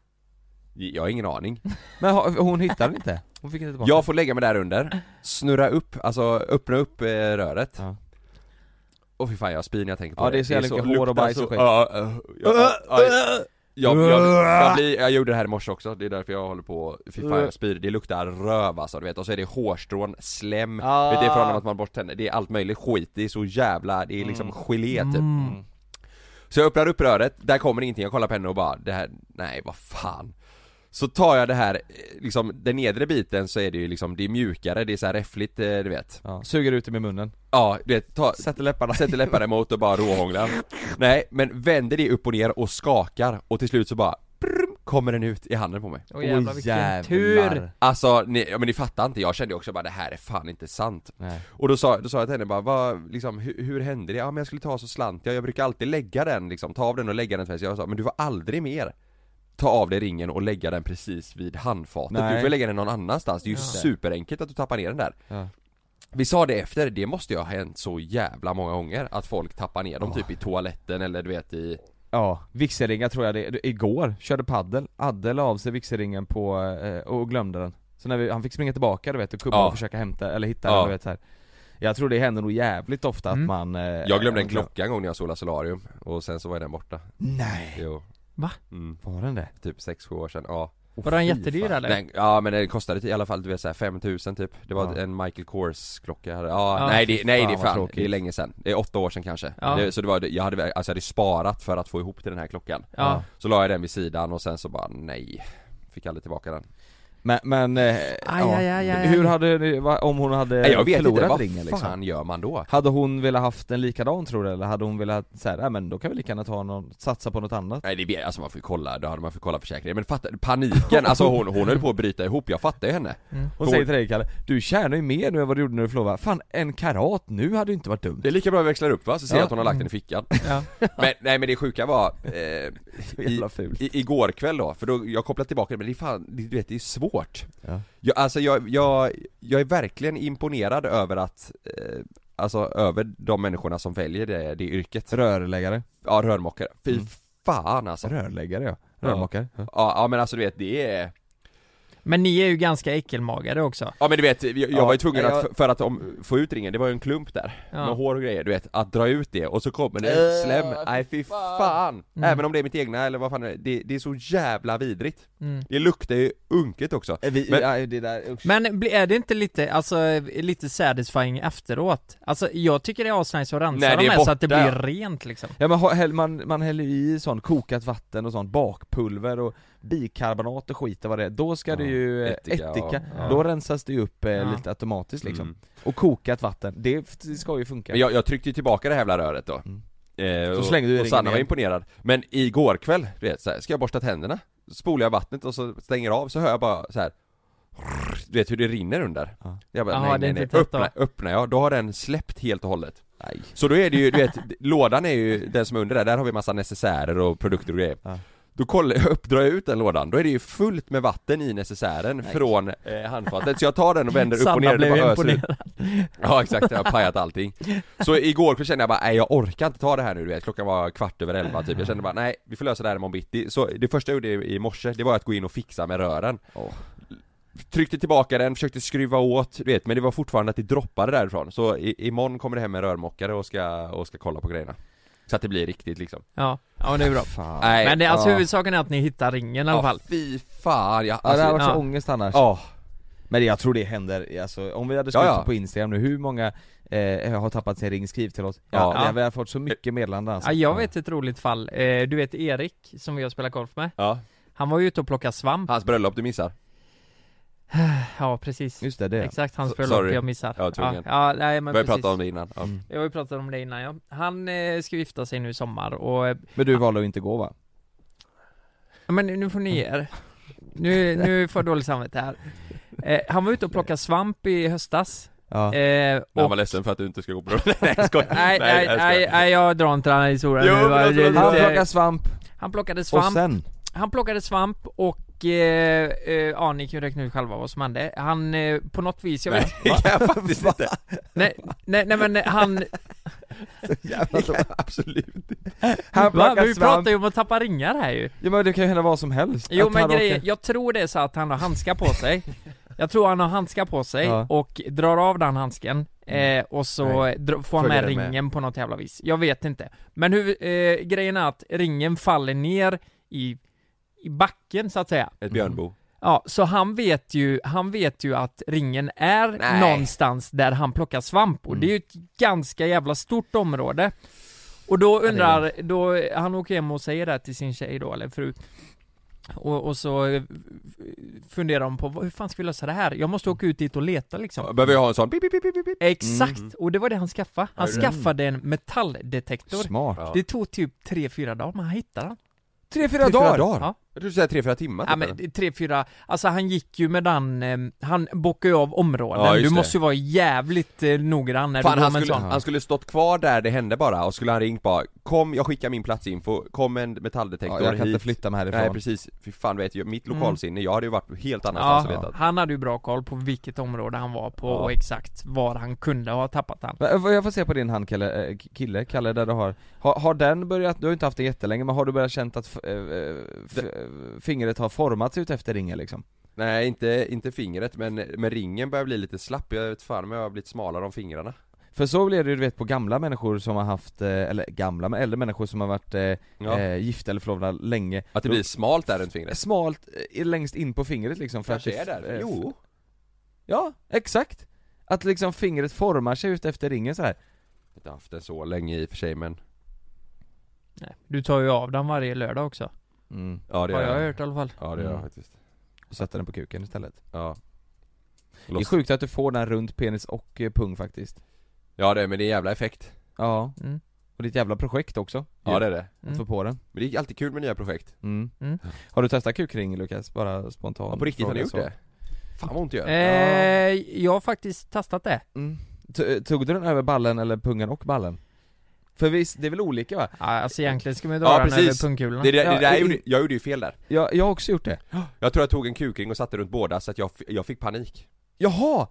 S1: Jag har ingen aning
S3: Men ha, hon hittade den inte? Hon fick inte tillbaka
S1: Jag får lägga mig där under, snurra upp, alltså öppna upp eh, röret
S3: Ja.
S1: Åh fy fan jag har spy när jag tänker på
S3: Ja,
S1: det
S3: det är så jävla mycket
S1: luktar
S3: hår och bajs och
S1: så-
S3: skit.
S1: ja, ja, ja, ja, jag, jag, jag, jag, blir, jag gjorde det här i morse också, det är därför jag håller på, fy fan jag spyr, det luktar röv alltså du vet, och så är det hårstrån, slem,
S3: Ah.
S1: vet, det är från att man borstar tänder, det är allt möjligt skit, det är så jävla, det är liksom gelé typ
S2: Mm.
S1: Så jag öppnar upp röret, där kommer ingenting, jag kollar på henne och bara det här, nej vad fan Så tar jag det här, eh, liksom den nedre biten så är det ju liksom, det är mjukare, det är så här räffligt eh, du vet
S3: Ja, suger ut den med munnen
S1: Ja, du vet, ta,
S3: Sätter läpparna
S1: sätter läpparna emot och bara råhånglar Nej, men vänder det upp och ner och skakar och till slut så bara prrm, kommer den ut i handen på mig
S2: Åh jävlar vilken tur.
S1: Alltså, ni, ja, men ni fattar inte, jag kände också bara det här är fan inte sant
S3: Nej.
S1: Och då sa, då sa jag till henne bara, vad, liksom, hur, hur hände det? Ja men jag skulle ta så slant, jag, jag brukar alltid lägga den liksom, ta av den och lägga den tvärs Jag sa, men du var aldrig mer Ta av dig ringen och lägga den precis vid handfatet,
S3: Nej.
S1: du får lägga den någon annanstans, det är ju
S2: Ja.
S1: superenkelt att du tappar ner den där
S3: Ja.
S1: Vi sa det efter, det måste ju ha hänt så jävla många gånger att folk tappar ner dem typ i toaletten eller du vet i
S3: Ja, vigselringar tror jag det igår, körde paddel, Adde la av sig vigselringen på, eh, och glömde den Så när vi, han fick springa tillbaka du vet och kubba
S1: Ja.
S3: och försöka hämta, eller hitta
S1: Ja.
S3: den du vet så här. Jag tror det händer nog jävligt ofta att
S2: Mm.
S3: man eh,
S1: Jag glömde en
S3: man
S1: klocka en gång när jag solade solarium och sen så var den borta
S3: Nej!
S1: Jo
S2: Va?
S1: Mm,
S3: Var den det?
S1: typ 6-7 år sedan, ja
S3: Åh,
S2: Var den
S3: fy
S2: jättedyr
S3: fan.
S2: eller?
S1: Nej, ja men det kostade i alla fall du vet såhär 5000 typ Det var
S3: Ja. Ah,
S1: en Michael Kors klocka jag hade, ja,
S2: Ja,
S1: nej, det,
S3: fy
S1: nej
S3: fan,
S1: det är
S3: vad
S1: fan,
S3: tråkigt.
S1: det är länge sedan Det är åtta år sedan kanske
S2: Ja.
S1: det, Så det var, jag hade, alltså jag hade sparat för att få ihop till den här klockan
S2: Ja.
S1: Så la jag den vid sidan och sen så bara nej Fick aldrig tillbaka den
S3: Men, men eh, ja.
S2: aj, aj, aj.
S3: Hur hade ni, va, om hon hade
S1: Nej jag vet inte,
S3: förlorat
S1: vad fan
S3: ringen liksom?
S1: gör man då?
S3: Hade hon velat haft en likadan tror du eller hade hon velat såhär, nej men då kan vi lika gärna ta någon, satsa på något annat?
S1: Nej det vet alltså man får ju kolla, då hade man fått kolla försäkringen Men fatta, paniken, alltså hon, hon höll på att bryta ihop, jag fattar ju henne
S3: Hon säger till dig Kalle, du tjänar ju mer nu än vad du gjorde när du förlovade, fan en karat nu hade ju inte varit dumt
S1: Det är lika bra att växla upp va, så ser
S3: Ja.
S1: jag att hon har lagt den i fickan
S2: Ja.
S1: *laughs* Men nej men det sjuka
S3: *laughs*
S1: var eh,
S3: Jävla fult
S1: I, igår kväll då, för då, jag kopplade tillbaka det, men det är fan, det, du vet det är svårt svårt.
S3: Ja.
S1: Jag, alltså jag, jag, jag är verkligen imponerad över att, eh, alltså över de människorna som väljer det, det yrket.
S3: Rörläggare.
S1: Ja, rörmokare. Fy
S3: Mm.
S1: fan alltså.
S3: Rörläggare ja. Rörmokare. Ja.
S1: Ja, ja men alltså du vet, det är
S2: Men ni är ju ganska äckelmagade också.
S1: Ja men du vet, jag, jag var ju tvungen
S3: jag-
S1: att, för- för att om, få ut ringen, det var ju en klump där,
S2: Ja.
S1: med hår och grejer, du vet, att dra ut det och så kommer det
S3: Äh,
S1: slem,
S3: fy
S1: nej fy
S3: fan.
S1: fan!
S2: Mm.
S1: Även om det är mitt egna eller vad fan det är, det, det är så jävla vidrigt
S2: Mm.
S1: Det luktar ju unket också
S3: Vi,
S1: Men-
S3: ja, det där, usch.
S2: Men bli- är det inte lite, alltså, eh, lite satisfying efteråt? Alltså jag tycker det är asnice att
S1: Nej, det
S2: rensa de
S1: är
S2: här så att det
S1: borta,
S2: blir rent liksom
S3: Ja men ha- häll- man, man häller ju i sånt kokat vatten och sånt bakpulver och bikarbonat och skit och vad det är. Då ska
S1: Ja,
S3: det ju eh,
S1: ättika
S3: ättika,
S1: och- ja.
S3: då rensas det ju upp eh,
S2: Ja.
S3: lite automatiskt liksom.
S1: Mm.
S3: Och kokat vatten, det, f- det ska ju funka.
S1: Men jag, jag tryckte ju tillbaka det här jävla röret då
S3: Mm.
S1: eh,
S3: Så
S1: och,
S3: slängde du
S1: och
S3: ringen
S1: Sanna var
S3: igen.
S1: imponerad, men igår kväll, du vet så här, ska jag borsta tänderna? Så Spolar jag vattnet och så stänger jag av, så hör jag bara så här. Du vet hur det rinner under?
S3: Ja.
S1: Jag bara,
S2: Jaha, det
S1: nej
S2: är
S1: nej
S2: inte
S1: nej,
S2: tätt då.
S1: öppnar, öppnar jag, då har den släppt helt och hållet
S3: Nej.
S1: Så då är det ju, du vet, lådan är ju den som är under där, där har vi massa necessärer och produkter och grejer
S3: Ja.
S1: Då kollar jag upp, drar jag ut den lådan, då är det ju fullt med vatten i necessären från eh, handfatet Så jag tar den och vänder upp och ner,
S2: Sanna
S1: det
S2: blev
S1: bara öser ut.
S2: imponerad
S1: Ja exakt, jag har pajat allting Så igår kväll kände jag bara, nej jag orkar inte ta det här nu du vet, klockan var kvart över elva typ Jag kände bara, nej vi får lösa det här imorgon bitti Så det första jag gjorde i morse, det var att gå in och fixa med rören
S3: Åh.
S1: Tryckte tillbaka den, försökte skruva åt, du vet, men det var fortfarande att det droppade därifrån Så i, imorgon kommer det hem en rörmokare och ska, och ska kolla på grejerna Så att det blir riktigt liksom
S2: Ja, ja men det är bra
S3: Fan.
S1: Nej,
S2: Men det, alltså
S1: ja.
S2: huvudsaken är att ni hittar ringen i alla
S1: Ja
S2: fall
S1: fy fan, jag,
S3: Ja, det hade
S1: alltså,
S3: varit så
S2: ja.
S3: ångest annars.
S1: ja,
S3: Men jag tror det händer, alltså, om vi hade skrivit
S1: Ja, ja.
S3: på Instagram nu, hur många eh, har tappat sin ring, skriv till oss. Ja,
S1: Ja.
S3: nej, Vi har fått så mycket meddelanden alltså.
S2: ja, Jag vet ett roligt fall, eh, du vet Erik som vi har spelat golf med
S1: ja,
S2: Han var ju ute och plockade svamp
S1: hans bröllop du missar
S2: Ja precis,
S3: Just det, det.
S2: exakt hans
S1: S-
S2: bröllop
S1: sorry.
S2: jag missar
S1: Jag var tvungen.
S2: ja, ja, nej men
S1: Vi har ju
S2: precis
S1: pratat om det innan, ja.
S3: Mm.
S2: Jag har ju pratat om det innan ja. Han eh, ska gifta sig nu i sommar och eh,
S3: Men du valde att inte gå va?
S2: Ja, Men nu får ni ge er. Nu, nu får jag dåligt samvete här. Eh, han var ute och plockade svamp i höstas.
S3: Ja.
S2: Eh,
S1: Men han var
S2: och,
S1: ledsen för att du inte ska gå på bröllop, *laughs* nej jag skojar.
S2: nej, nej,
S1: jag skojar.
S2: nej, nej, jag drar inte den här historien
S1: Jo,
S2: nu. va.
S1: men jag tror-
S2: Det-
S3: Han
S2: det-
S3: plockar svamp,
S2: han plockade
S3: och
S2: svamp,
S3: sen?
S2: han plockade svamp och eh, eh, ja ni kan ju räkna ut själva vad som hände. Han, eh, på något vis, jag vet
S1: Det kan jag faktiskt inte,
S2: nej, nej, nej men han,
S1: det kan jag absolut inte
S3: Han
S2: va,
S3: plockar
S2: vi pratar
S3: svamp,
S2: ju om att tappa ringar här ju.
S3: ja, men det kan ju hända vad som helst
S2: Jo
S3: Att
S2: men
S3: han
S2: grejen,
S3: råkar-
S2: jag tror det är så att han har handskar på
S3: *laughs*
S2: sig Jag tror han har handskar på sig
S3: Ja. Mm.
S2: och drar av den handsken eh, och så
S3: Nej.
S2: dr- får han
S1: Följer
S2: med
S1: den med.
S2: ringen på något jävla vis Jag vet inte Men hur, eh, grejen är att ringen faller ner i, i backen så att säga
S1: Ett björnbo
S2: Ja, så han vet ju, han vet ju att ringen är
S1: Nej.
S2: någonstans där han plockar svamp och det är ju ett ganska jävla stort område Och då undrar, då, han åker hem och säger det här till sin tjej då, eller fru och, och så eh, funderar de på, "Vad- hur fan ska vi lösa det här? Jag måste åka ut dit och leta liksom
S1: Behöver jag ha en sån? Pip, pip, pip, pip, pip.
S2: Exakt! Och det var det han skaffade, han
S1: Hörru.
S2: skaffade en metalldetektor
S3: Smart
S1: Ja.
S2: Det tog typ 3-4 dagar, men han hittade den
S3: Tre, fyra
S1: Tre, fyra
S3: dagar!
S1: dagar?
S2: Ja.
S1: Jag trodde du sa tre, fyra timmar
S2: Ja
S1: typ,
S2: men
S1: eller?
S2: det är tre, fyra, alltså han gick ju med den, eh, han bockade ju av områden,
S1: Ja,
S2: du
S1: just det.
S2: måste ju vara jävligt eh, noggrann när
S1: Fan,
S2: du går
S1: han,
S2: med en
S1: skulle,
S2: sån
S1: han skulle stått kvar där det hände bara och skulle han ringt bara Kom, jag skickar min platsinfo, kom en metalldetektor
S3: Ja, jag kan
S1: hit
S3: inte flytta mig härifrån
S1: Nej precis, fy fan vet jag, mitt lokalsinne, jag hade ju varit helt annanstans och
S2: Mm. Ja,
S1: vetat
S2: han hade ju bra koll på vilket område han var på och exakt var han kunde ha tappat han
S3: Men, eh, Jag får se på din hand Kalle, eh, kille, Kalle där du har. har Har den börjat, du har ju inte haft den jättelänge men har du börjat känt att f- eh, eh, f- eh, fingret har formats ut efter ringen liksom?
S1: Nej inte, inte fingret men, men ringen börjar bli lite slapp, jag vet fan om jag har blivit smalare om fingrarna
S3: För så blir det ju du vet på gamla människor som har haft, eh, eller gamla men äldre människor som har varit eh,
S1: Ja.
S3: eh, gifta eller förlovade länge
S1: Att det blir smalt där runt fingret
S3: Smalt eh, längst in på fingret liksom för
S1: Kanske
S3: att
S1: är
S3: det f-
S1: där,
S3: eh,
S1: jo
S3: Ja, exakt! Att liksom fingret formar sig ut efter ringen så här.
S1: Inte haft den så länge i och för sig men
S2: Nej, Du tar ju av den varje lördag också,
S3: Mm.
S1: Ja det
S2: har jag
S1: gör jag
S2: hört i alla fall
S1: Ja det gör jag
S3: Mm.
S1: faktiskt
S3: Och sätta den på kuken istället
S1: Ja
S3: Det är sjukt att du får den runt penis och eh, pung faktiskt
S1: Ja det, men det är en jävla effekt
S3: Ja,
S2: mm.
S3: och ditt jävla projekt också
S1: Ja det är det
S3: Att få på den
S1: Men det är alltid kul med nya projekt
S3: mm.
S2: Mm.
S3: Har du testat kukring Lukas? Bara spontant
S1: Ja, på riktigt har ni
S3: fråga
S1: gjort
S3: så.
S1: det? Fan vad ont det gör
S3: Eh,
S2: eh, Jag har faktiskt testat det
S3: Mm. T- Tog du den över ballen eller pungen och ballen? För visst, det är väl olika va?
S2: Ja, alltså egentligen ska man ju dra
S1: Ja
S2: den över
S1: precis,
S2: pungkulorna
S1: det, är det, det
S3: Ja,
S1: där
S3: i-
S1: jag, gjorde, jag gjorde ju fel där
S3: Jag, jag har också gjort det
S1: Jag tror jag tog en kukring och satte runt båda så att jag, f- jag fick panik
S3: Jaha!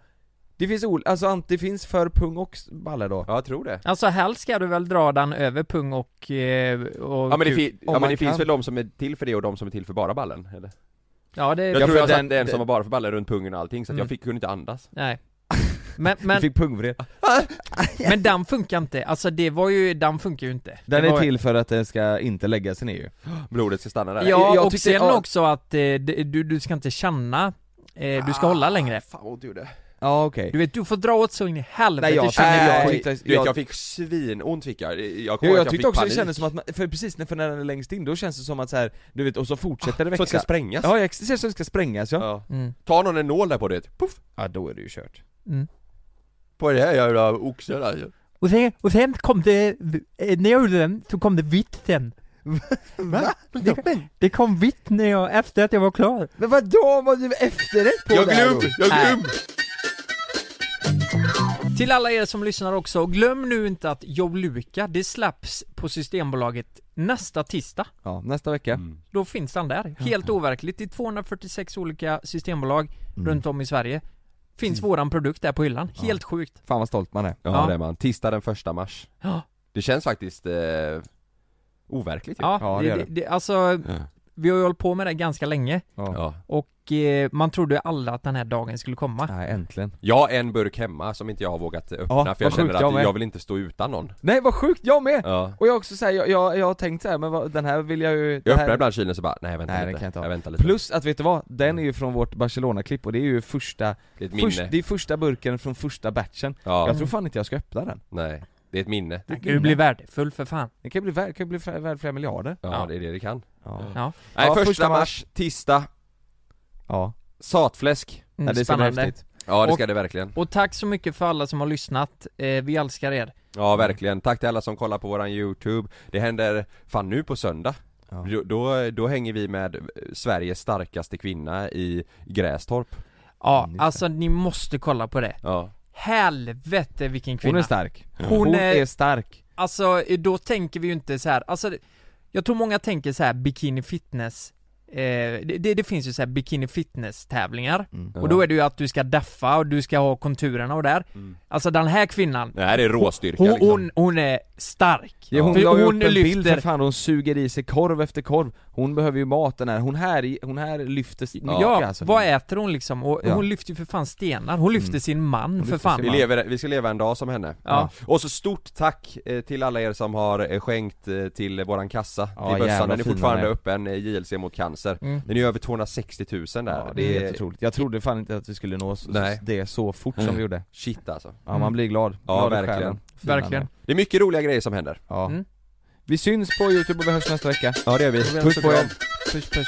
S3: Det finns ol- alltså ant- det finns för pung och s- balle då?
S1: Ja jag tror det
S2: Alltså helst ska du väl dra den över pung och... eh, och
S1: Ja men det,
S2: kuk.
S1: fi- ja,
S3: man
S1: men det
S3: kan.
S1: finns väl de som är till för det och de som är till för bara ballen eller?
S2: Ja det... Alltså,
S1: Jag
S3: Ja,
S1: tror
S3: för
S1: jag
S3: den-
S1: satte en
S3: den-
S1: som var bara för ballen runt pungen och allting så att
S2: Mm.
S1: jag fick, kunde inte andas
S2: Nej. Men,
S3: Du
S2: men,
S3: fick pungvred
S2: men den funkar inte, alltså det var ju, den funkar ju inte
S3: Den
S2: det
S3: är
S2: var,
S3: till för att den ska inte lägga sig ner ju
S1: Blodet ska stanna där
S2: Ja,
S3: Jag
S2: och
S3: tyckte-
S2: sen
S3: ja.
S2: också att eh, det- du, du ska inte känna, eh, du ska hålla längre
S1: Fan vad ont det gjorde
S3: Ja okej
S2: Du vet, du får dra åt så in i helvete
S3: Nej jag,
S2: känner jag
S3: jag,
S1: Nej,
S3: tyckte, jag,
S1: Du vet
S3: jag,
S1: jag, fick svinont fick jag, jag
S3: jag,
S1: kommer ihåg att
S3: tyckte
S1: fick
S3: också
S1: panik.
S3: det kändes som att man, för precis när, för när den är längst in då känns det som att så här, du vet och Ah, så fortsätter det
S1: Så att det ska
S3: växa
S1: sprängas?
S3: Ja, jag det känns som att det ska sprängas ja.
S1: Ja.
S2: mm.
S1: Ta någon en nål där på det, poff!
S3: Ja då är det ju kört
S2: Mm.
S1: På det här jävla oxen där ju
S2: Och, sen, och sen kom det, eh, när jag gjorde den så kom det vitt sen Va? Det, det kom vitt när jag, efter att jag var klar
S3: Men vadå, var du efterrätt på
S1: Jag glöm, jag
S2: Nej.
S1: glöm!
S2: Till alla er som lyssnar också, glöm nu inte att Joluka, det släpps på Systembolaget nästa tisdag.
S3: Ja, nästa vecka
S2: Då finns den där, helt overkligt, i 246 olika systembolag
S3: Mm.
S2: runt om i Sverige. Finns våran produkt där på hyllan, helt sjukt.
S3: Fan vad stolt man är
S1: Ja,
S2: Ja.
S1: det är man, tisdag den första mars
S2: Ja,
S1: Det känns faktiskt eh, overkligt ju.
S2: ja
S3: typ. Ja, det
S2: det,
S3: är
S2: det,
S3: det.
S2: det, alltså,
S1: Ja.
S2: vi har ju hållit på med det ganska länge
S1: Ja.
S2: och eh, man trodde ju alla att den här dagen skulle komma.
S3: Nej äntligen
S1: Jag har en burk hemma som inte jag har vågat öppna
S3: Ja,
S1: för jag
S3: vad
S1: känner
S3: sjukt,
S1: att
S3: jag
S1: jag,
S3: med.
S1: vill inte stå utan någon
S3: Nej vad sjukt, jag med!
S1: ja.
S3: Och jag också säger, jag, jag, jag har tänkt så här, men vad, den här vill jag ju det
S1: Jag
S3: här...
S1: öppnar ibland kylen så bara, nej vänta
S3: Nej, den
S1: lite,
S3: kan jag inte ha.
S1: jag väntar lite
S3: Plus att vet du vad? Den är ju från vårt Barcelona-klipp och det är ju första,
S1: Det är ett minne,
S3: först, det är första burken från första batchen
S1: ja,
S3: Jag tror fan inte jag ska öppna den
S1: nej Det är ett minne,
S2: Den kan ju bli värdefull för fan.
S3: Den kan ju bli värd, kan ju bli fär- värd flera miljarder
S1: ja,
S2: Ja.
S1: det är det det kan
S3: Ja,
S2: Ja, Mm,
S1: Nej
S3: Ja,
S1: första,
S3: första
S1: mars,
S3: mars.
S1: tisdag,
S3: ja.
S1: satfläsk
S2: mm,
S3: Nej, det ska bli
S2: spännande.
S3: häftigt
S1: Ja det
S2: Och-
S1: ska det verkligen,
S2: Och tack så mycket för alla som har lyssnat, eh, vi älskar er.
S1: ja verkligen, tack till alla som kollar på våran youtube Det händer, fan nu på söndag
S3: Ja.
S1: då, då, då hänger vi med eh, Sveriges starkaste kvinna i Grästorp
S2: Ja,
S3: Mm, just det.
S2: alltså ni måste kolla på det.
S1: Ja,
S2: Helvete vilken kvinna!
S3: Hon är stark
S2: Hon
S3: Hon
S2: är-
S3: är stark
S2: Alltså då tänker vi ju inte så här. alltså jag tror många tänker så här bikini fitness eh, det, det, det finns ju så här bikini fitness tävlingar
S3: Mm.
S2: och då är det ju att du ska daffa och du ska ha konturerna och där
S3: Mm.
S2: Alltså den här kvinnan,
S1: det här är råstyrka
S2: hon,
S1: liksom.
S2: hon, hon är stark!
S3: Ja, hon
S2: För
S3: la ju upp en bild för fan, hon suger i sig korv efter korv Hon behöver ju mat den här, hon här, hon här lyfter s- mycket
S2: Ja,
S3: alltså
S2: vad äter hon liksom? Och
S3: Ja. Mm.
S2: hon lyfter ju för fan stenar, hon lyfter sin man för
S3: lyfter
S2: fan
S3: sin
S1: Vi, lever, vi ska leva en dag som henne.
S2: Ja.
S1: Och så stort tack eh, till alla er som har eh, skänkt eh, till eh, våran kassa,
S3: Ja,
S1: till bössan.
S3: jävla
S1: Den är
S3: fina
S1: fortfarande
S3: ni är.
S1: öppen, eh, JLC mot cancer.
S2: Mm.
S1: Den är över 260 000 där.
S3: Ja, det är helt otroligt. Jag trodde fan inte att vi skulle nå s-
S1: Nej.
S3: det så fort som vi gjorde
S1: Shit alltså.
S3: Mm. Ja man blir glad,
S1: Ja,
S3: glad i
S1: verkligen.
S3: själen. Fin
S2: Verkligen.
S3: man
S1: Det är mycket roliga grejer som händer.
S3: är. Ja.
S2: Mm.
S3: Vi syns på youtube och vi hörs nästa vecka
S1: Ja det gör vi.
S3: Puss på er, puss puss